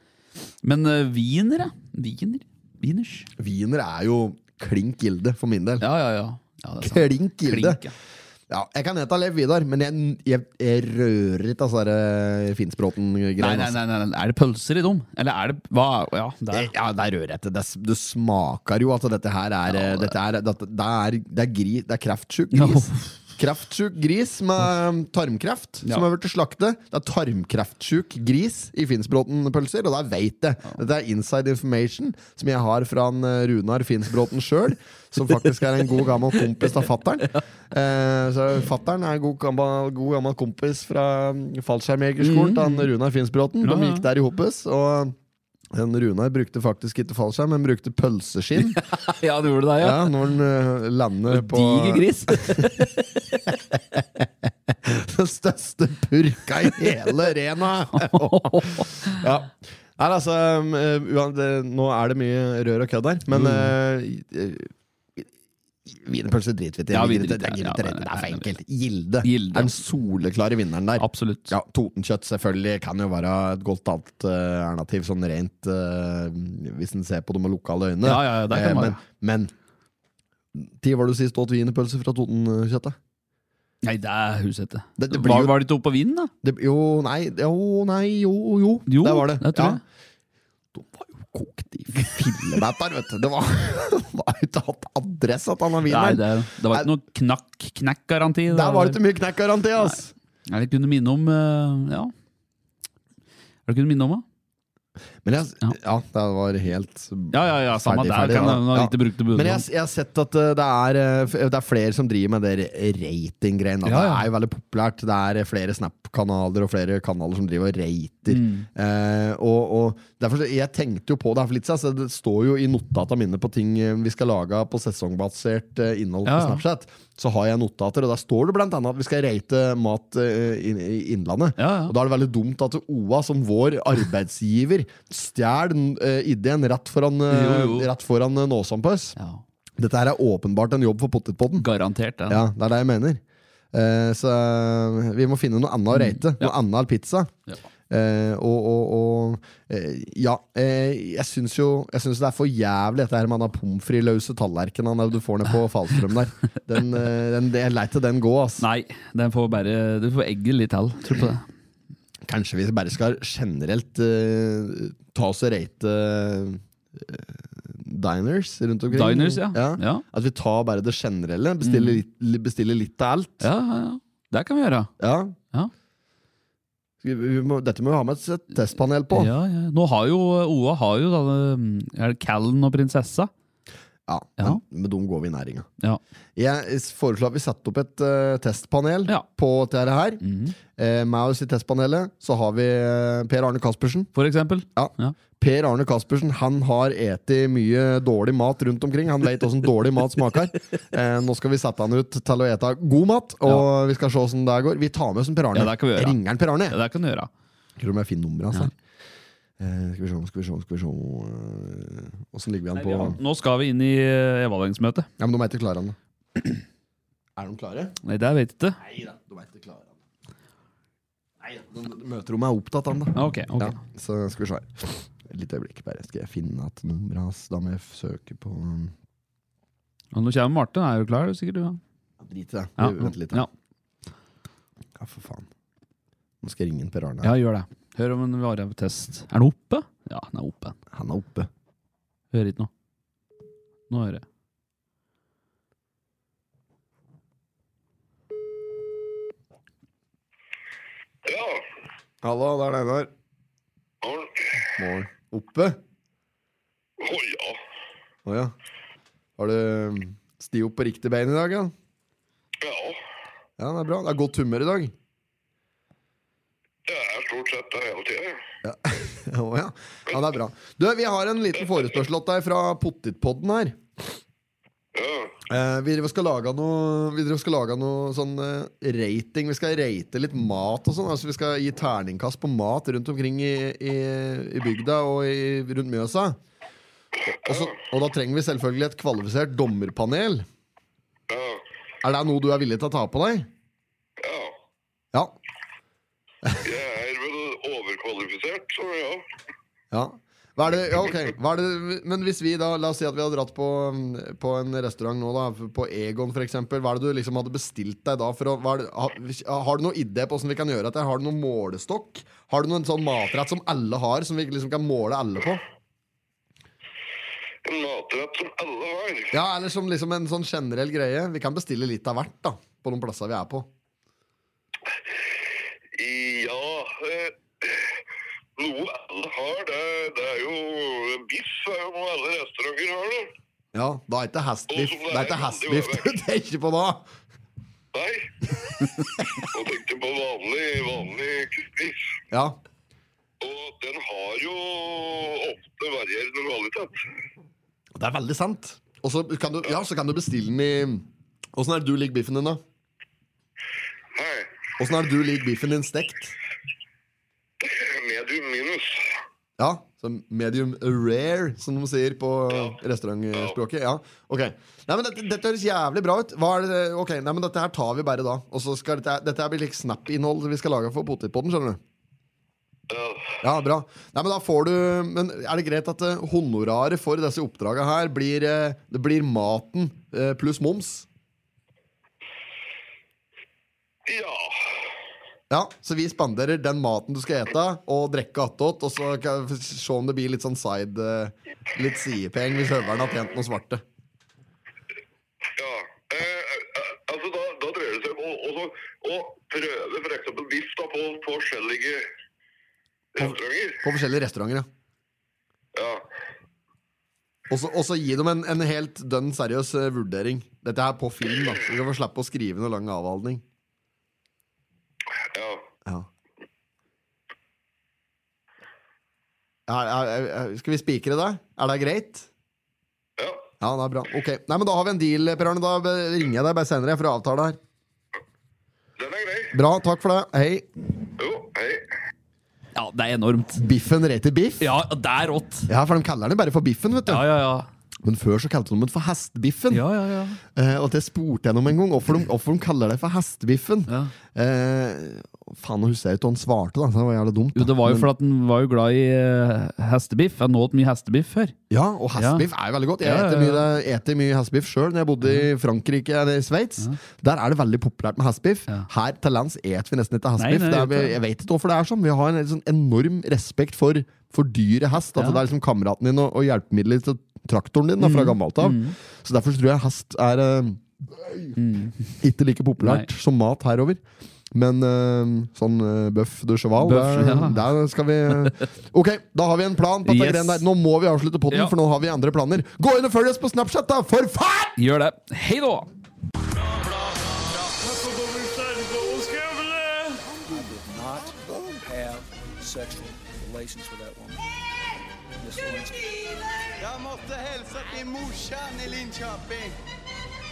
Speaker 2: Men uh, wiener, ja. Wiener. Wieners.
Speaker 1: Wiener er jo klink gilde, for min del.
Speaker 2: Ja, ja, ja. ja det er sant.
Speaker 1: Klink gilde.
Speaker 2: Klink, ja.
Speaker 1: Ja, jeg kan hete Lev Vidar, men jeg, jeg, jeg rører ikke altså, det
Speaker 2: Nei,
Speaker 1: finspråten-greiene.
Speaker 2: nei,
Speaker 1: altså.
Speaker 2: nei, nei, nei. Er det pølser i dem? Eller er det Hva? Ja, der.
Speaker 1: Jeg- Ja, der rører jeg ikke. Det, s- det smaker jo at dette her er eh, dette er, dette, det, er, det, er gri, det er kreftsjuk gris. Kreftsjuk gris med um, tarmkreft
Speaker 2: Ja.
Speaker 1: som har blitt slaktet. Det er tarmkreftsjuk gris i Finnsbråten-pølser, og det veit jeg. Dette er inside information som jeg har fra en eh, Runar Finnsbråten sjøl, som faktisk er en god gammel kompis av fattern. Eh, så fattern er en god gammel, god gammel kompis fra mm, fallskjermjegerskolen til han Runar Finnsbråten.
Speaker 2: Mm. Ja,
Speaker 1: De
Speaker 2: ja.
Speaker 1: gikk der i hoppes. Og en Runar brukte faktisk ikke fallskjerm, men brukte pølseskinn
Speaker 2: Ja, du gjorde det,
Speaker 1: ja, når han eh, lander på
Speaker 2: Diger gris.
Speaker 1: den største purka i hele Rena. ja. Nei, altså, um, uan- det- nå er det mye rør og kødd her, men
Speaker 2: Mm.
Speaker 1: uh, eh, Wienerpølse driter vi til.
Speaker 2: Ja,
Speaker 1: Vi
Speaker 2: vi
Speaker 1: gidder ikke-
Speaker 2: driter i det.
Speaker 1: jeg gidder
Speaker 2: Ja,
Speaker 1: ikke rette,
Speaker 2: nei,
Speaker 1: Det er for
Speaker 2: nei,
Speaker 1: enkelt. Gilde
Speaker 2: Gilde.
Speaker 1: er den soleklare vinneren der.
Speaker 2: Absolutt.
Speaker 1: Ja, Totenkjøtt selvfølgelig kan jo være et godt alternativ, sånn rent eh, hvis en ser på det med lukkede øyne.
Speaker 2: Ja, ja, ja, det kan
Speaker 1: Eh,
Speaker 2: være.
Speaker 1: men, men Tid var det du sist åt wienerpølse fra Totenkjøttet?
Speaker 2: Nei, det er Husete.
Speaker 1: Det- det blir
Speaker 2: Var,
Speaker 1: jo-
Speaker 2: var det ikke oppe på vinden, da?
Speaker 1: Det, jo, nei, jo, nei, jo, jo.
Speaker 2: Jo,
Speaker 1: det var det.
Speaker 2: det tror jeg.
Speaker 1: De var jo kokt i fillebæter, vet du. Det var, det var jo ikke hatt adresse at han har
Speaker 2: Nei,
Speaker 1: viner.
Speaker 2: det, det var ikke noe knakk, knekk-garanti.
Speaker 1: Der var det ikke mye knekkgaranti, ass!
Speaker 2: Jeg kunne minne om eh, Ja. Er det kunne minne om, da?
Speaker 1: Men jeg, ja, det var helt
Speaker 2: Ja, ja, ja, samme
Speaker 1: Ferdig,
Speaker 2: der.
Speaker 1: ferdig,
Speaker 2: kan
Speaker 1: ja.
Speaker 2: jeg- nå har jeg
Speaker 1: Ja.
Speaker 2: ikke brukt det
Speaker 1: Men
Speaker 2: på
Speaker 1: jeg,
Speaker 2: utenlands.
Speaker 1: jeg har sett at eh, det er, eh, f- det er flere som driver med det rating-greien. da.
Speaker 2: Ja,
Speaker 1: Det
Speaker 2: ja.
Speaker 1: er jo veldig populært. Det er eh, flere Snap-kanaler og flere kanaler som driver og rater.
Speaker 2: Mm.
Speaker 1: Eh, og, og derfor, så- jeg tenkte jo på det her for litt siden, så det står jo i notata mine på ting eh, vi skal lage på sesongbasert eh, innhold på
Speaker 2: Ja, ja.
Speaker 1: Snapchat. Så har jeg notater, og der står det blant annet at vi skal rate mat eh, inn- i Innlandet.
Speaker 2: Ja, ja.
Speaker 1: Og da er det veldig dumt at OA som vår arbeidsgiver stjal eh, ideen rett foran, eh,
Speaker 2: Jo, jo.
Speaker 1: rett foran eh, Nåsompøs.
Speaker 2: Ja,
Speaker 1: Dette her er åpenbart en jobb for Pottetpodden.
Speaker 2: garantert den.
Speaker 1: Ja, det er det jeg mener. Eh, så eh, vi må finne noe annet å rate. Noe annet enn pizza.
Speaker 2: Mm. Ja.
Speaker 1: Eh, og og, og eh, ja, eh, jeg syns jo Jeg synes det er for jævlig dette her med den pommes frites-løse tallerkenen du får ned på Falstrøm der. Den, eh, den, jeg lei til den gå, ass.
Speaker 2: Nei, den får bare Du får egget litt til. Tror på det.
Speaker 1: Kanskje vi bare skal generelt eh, ta oss og rate eh, diners rundt omkring?
Speaker 2: Diners, ja.
Speaker 1: ja.
Speaker 2: Ja.
Speaker 1: At vi tar bare det generelle. Bestiller, litt, bestiller litt av alt.
Speaker 2: Mm. Ja, ja, ja. Det kan vi gjøre.
Speaker 1: Ja.
Speaker 2: Ja.
Speaker 1: Skal Vi, vi må, dette må vi ha med et testpanel på.
Speaker 2: eh, Ja, ja. Nå har jo OA har jo da, det, mm, er det Callen og prinsessa.
Speaker 1: Ja,
Speaker 2: Ja.
Speaker 1: Men, men de går vi i næringa.
Speaker 2: Ja.
Speaker 1: Jeg s- foreslår at vi setter opp et eh, testpanel
Speaker 2: Ja.
Speaker 1: på dette her. Eh, med oss i testpanelet så har vi eh, Per Arne Caspersen.
Speaker 2: For eksempel.
Speaker 1: Ja.
Speaker 2: Ja.
Speaker 1: Per Arne Caspersen han har eti mye dårlig mat rundt omkring. Han vet åssen dårlig mat smaker. Eh, nå skal vi sette han ut til å ete god mat, og vi skal se åssen det går. Vi tar med oss en Per Arne.
Speaker 2: Ja, det kan vi gjøre.
Speaker 1: Jeg ringer han Per Arne.
Speaker 2: Ja, det kan du gjøre.
Speaker 1: Jeg tror om jeg finner nummeret hans her. Eh, skal vi se, skal vi se, skal vi se Åssen ligger vi an på
Speaker 2: Nå skal vi inn i eh, evalueringsmøtet.
Speaker 1: Ja, men de er ikke klare ennå. Er de klare?
Speaker 2: Nei, det vet jeg ikke.
Speaker 1: Nei da, de er ikke klare ennå. Nei da, de- de- møterommet er opptatt ennå.
Speaker 2: Ah, Ok, ok.
Speaker 1: Ja, så skal vi se her. Et lite øyeblikk, bare. Skal jeg finne at nummeret hans Da må jeg søke på
Speaker 2: Og nå kommer Martin. Er du klar? Er du sikkert du? Ja.
Speaker 1: ja, Drit i det.
Speaker 2: Ja.
Speaker 1: Vi Vent litt.
Speaker 2: Ja.
Speaker 1: Ja. for faen. Nå skal jeg ringe en Per Arne.
Speaker 2: ja, gjør det. Hør om en varetest. Er den oppe? Ja, den er oppe.
Speaker 1: Han er oppe.
Speaker 2: Hører ikke noe. Nå hører jeg.
Speaker 6: Ja,
Speaker 1: Hallo, det er Einar.
Speaker 6: har
Speaker 1: Morgen. Oppe?
Speaker 6: Å ja.
Speaker 1: Å ja. Har du um, sti opp på riktig bein i dag, ja?
Speaker 6: Ja,
Speaker 1: Ja, det er bra. Det er godt humør i dag.
Speaker 6: det er stort sett det hele tida.
Speaker 1: Ja. Å ja. ja, det er bra. Du, vi har en liten forespørsel til deg fra Pottitpodden her.
Speaker 6: Ja.
Speaker 1: Eh, vi driver og skal lage noe, vi driver og skal lage noe sånn eh, rating. Vi skal rate litt mat og sånn. Altså, vi skal gi terningkast på mat rundt omkring i, i, i bygda og i, rundt Mjøsa. Og, så, og da trenger vi selvfølgelig et kvalifisert dommerpanel.
Speaker 6: Ja.
Speaker 1: Er det noe du er villig til å ta på deg?
Speaker 6: ja.
Speaker 1: Ja.
Speaker 6: Jeg er vel overkvalifisert, så ja.
Speaker 1: ja. Hva er det, ja, ok. Hva er det, men hvis vi da, la oss si at vi hadde dratt på, mm, på en restaurant nå, da, på Egon f.eks. Hva er det du liksom hadde bestilt deg da? For å, hva er det, har, har du noen idé på hvordan vi kan gjøre dette? Har du noen målestokk? Har du noen sånn matrett som alle har, som vi liksom kan måle alle på?
Speaker 6: En matrett som alle har.
Speaker 1: Ja, eller som liksom en sånn generell greie. Vi kan bestille litt av hvert, da. På noen plasser vi er på.
Speaker 6: Ja eh, Noe alle har, det, det er jo Biff er jo noe alle restauranter har, det.
Speaker 1: Ja, Da er ikke hestbiff Det er ikke hestbiff du tenker på da!
Speaker 6: Nei. Nå tenkte jeg på vanlig, vanlig biff.
Speaker 1: Ja.
Speaker 6: Og den har jo ofte varierende kvalitet.
Speaker 1: Det er veldig sant. Og så kan du, ja, så kan du bestille den i Åssen er det du liker biffen din, da?
Speaker 6: Nei.
Speaker 1: Åssen er det du liker biffen din stekt?
Speaker 6: Medium minus.
Speaker 1: Ja, så medium rare, som de sier på restaurantspråket. Ja, ok Nei, men dette, dette høres jævlig bra ut. Hva er det, ok, nei, men Dette her tar vi bare da. Og så skal Dette, dette her blir litt snap-innhold vi skal lage for potetpotten. skjønner du?
Speaker 6: Ja.
Speaker 1: Ja, bra. Nei, men da får du Men er det greit at eh, honoraret for disse oppdraga her blir, eh, det blir maten eh, pluss moms?
Speaker 6: ja.
Speaker 1: Ja, Så vi spanderer den maten du skal ete, og drikke attåt, og så kan vi se om det blir litt sånn side eh, Litt sidepeng hvis høveren har tjent noe svarte.
Speaker 6: ja. Eh, eh, altså, da, da dreier det seg om å, også- å prøve f.eks. biff da, på på forskjellige restauranter.
Speaker 1: På forskjellige restauranter, ja.
Speaker 6: Ja.
Speaker 1: Og så- Og så gi dem en, en helt dønn seriøs eh, vurdering. Dette er på film, da. Så vi kan få slippe å skrive noe lang avhandling.
Speaker 6: ja.
Speaker 1: Ja. Er, er, er, er- skal vi spikre det? Er det greit?
Speaker 6: ja.
Speaker 1: Ja, det er bra. Ok, Nei, men Da har vi en deal, Per Arne. Da eh, ringer jeg deg bare senere for å avtale her.
Speaker 6: Den er grei.
Speaker 1: Bra, takk for det. Hei.
Speaker 6: Jo, hei.
Speaker 2: Ja, det er enormt.
Speaker 1: Biffen rater biff.
Speaker 2: Ja, det er rått.
Speaker 1: Ja, for de kaller den bare for Biffen, vet du.
Speaker 2: Ja, ja, ja.
Speaker 1: Men før så kalte de den for Hestbiffen.
Speaker 2: Ja, ja, ja.
Speaker 1: Eh, og det spurte jeg dem en gang, hvorfor de, hvorfor de kaller det for Hestbiffen.
Speaker 2: Ja.
Speaker 1: Eh, faen, nå husker jeg ikke hva han svarte, da. så Det var jævlig dumt.
Speaker 2: Jo,
Speaker 1: da.
Speaker 2: det var jo
Speaker 1: Men-
Speaker 2: fordi at den var jo glad i eh, hestebiff. Jeg nådde mye hestebiff før.
Speaker 1: Ja, og hestbiff er jo veldig godt. Jeg
Speaker 2: Ja, ja,
Speaker 1: eter
Speaker 2: ja.
Speaker 1: mye, det- eter mye hestbiff sjøl. Når jeg bodde i Frankrike eller i Sveits, der er det veldig populært med hestbiff.
Speaker 2: Ja.
Speaker 1: Her til lands eter vi nesten ikke hestbiff.
Speaker 2: Nei, nei,
Speaker 1: det er,
Speaker 2: det er
Speaker 1: vi- jeg vet ikke hvorfor det er sånn. Vi har en helt sånn enorm respekt for, for dyre hest. At
Speaker 2: Ja. Mm.
Speaker 1: det er liksom kameraten din og, og hjelpemiddelet til traktoren din da, fra gammelt av. Så derfor så tror jeg hest er eh, ikke like populært
Speaker 2: Mm. Nei.
Speaker 1: som mat herover. Men eh, sånn uh, bøff de cheval,
Speaker 2: Bøff,
Speaker 1: der,
Speaker 2: ja.
Speaker 1: der skal vi Ok, da har vi en plan. på dette
Speaker 2: Yes.
Speaker 1: greiene der Nå må vi avslutte podden,
Speaker 2: Ja.
Speaker 1: for nå har vi andre planer. Gå inn og følg oss på Snapchat, da! For faen!
Speaker 2: Gjør det. Hei da!
Speaker 3: I did not have sexual relations with that woman. Miss Lewinsky.
Speaker 4: Jag måste hälsa till morsan i Linköping.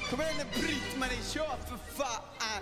Speaker 4: Kom igen nu Britt-Marie, kör för fan!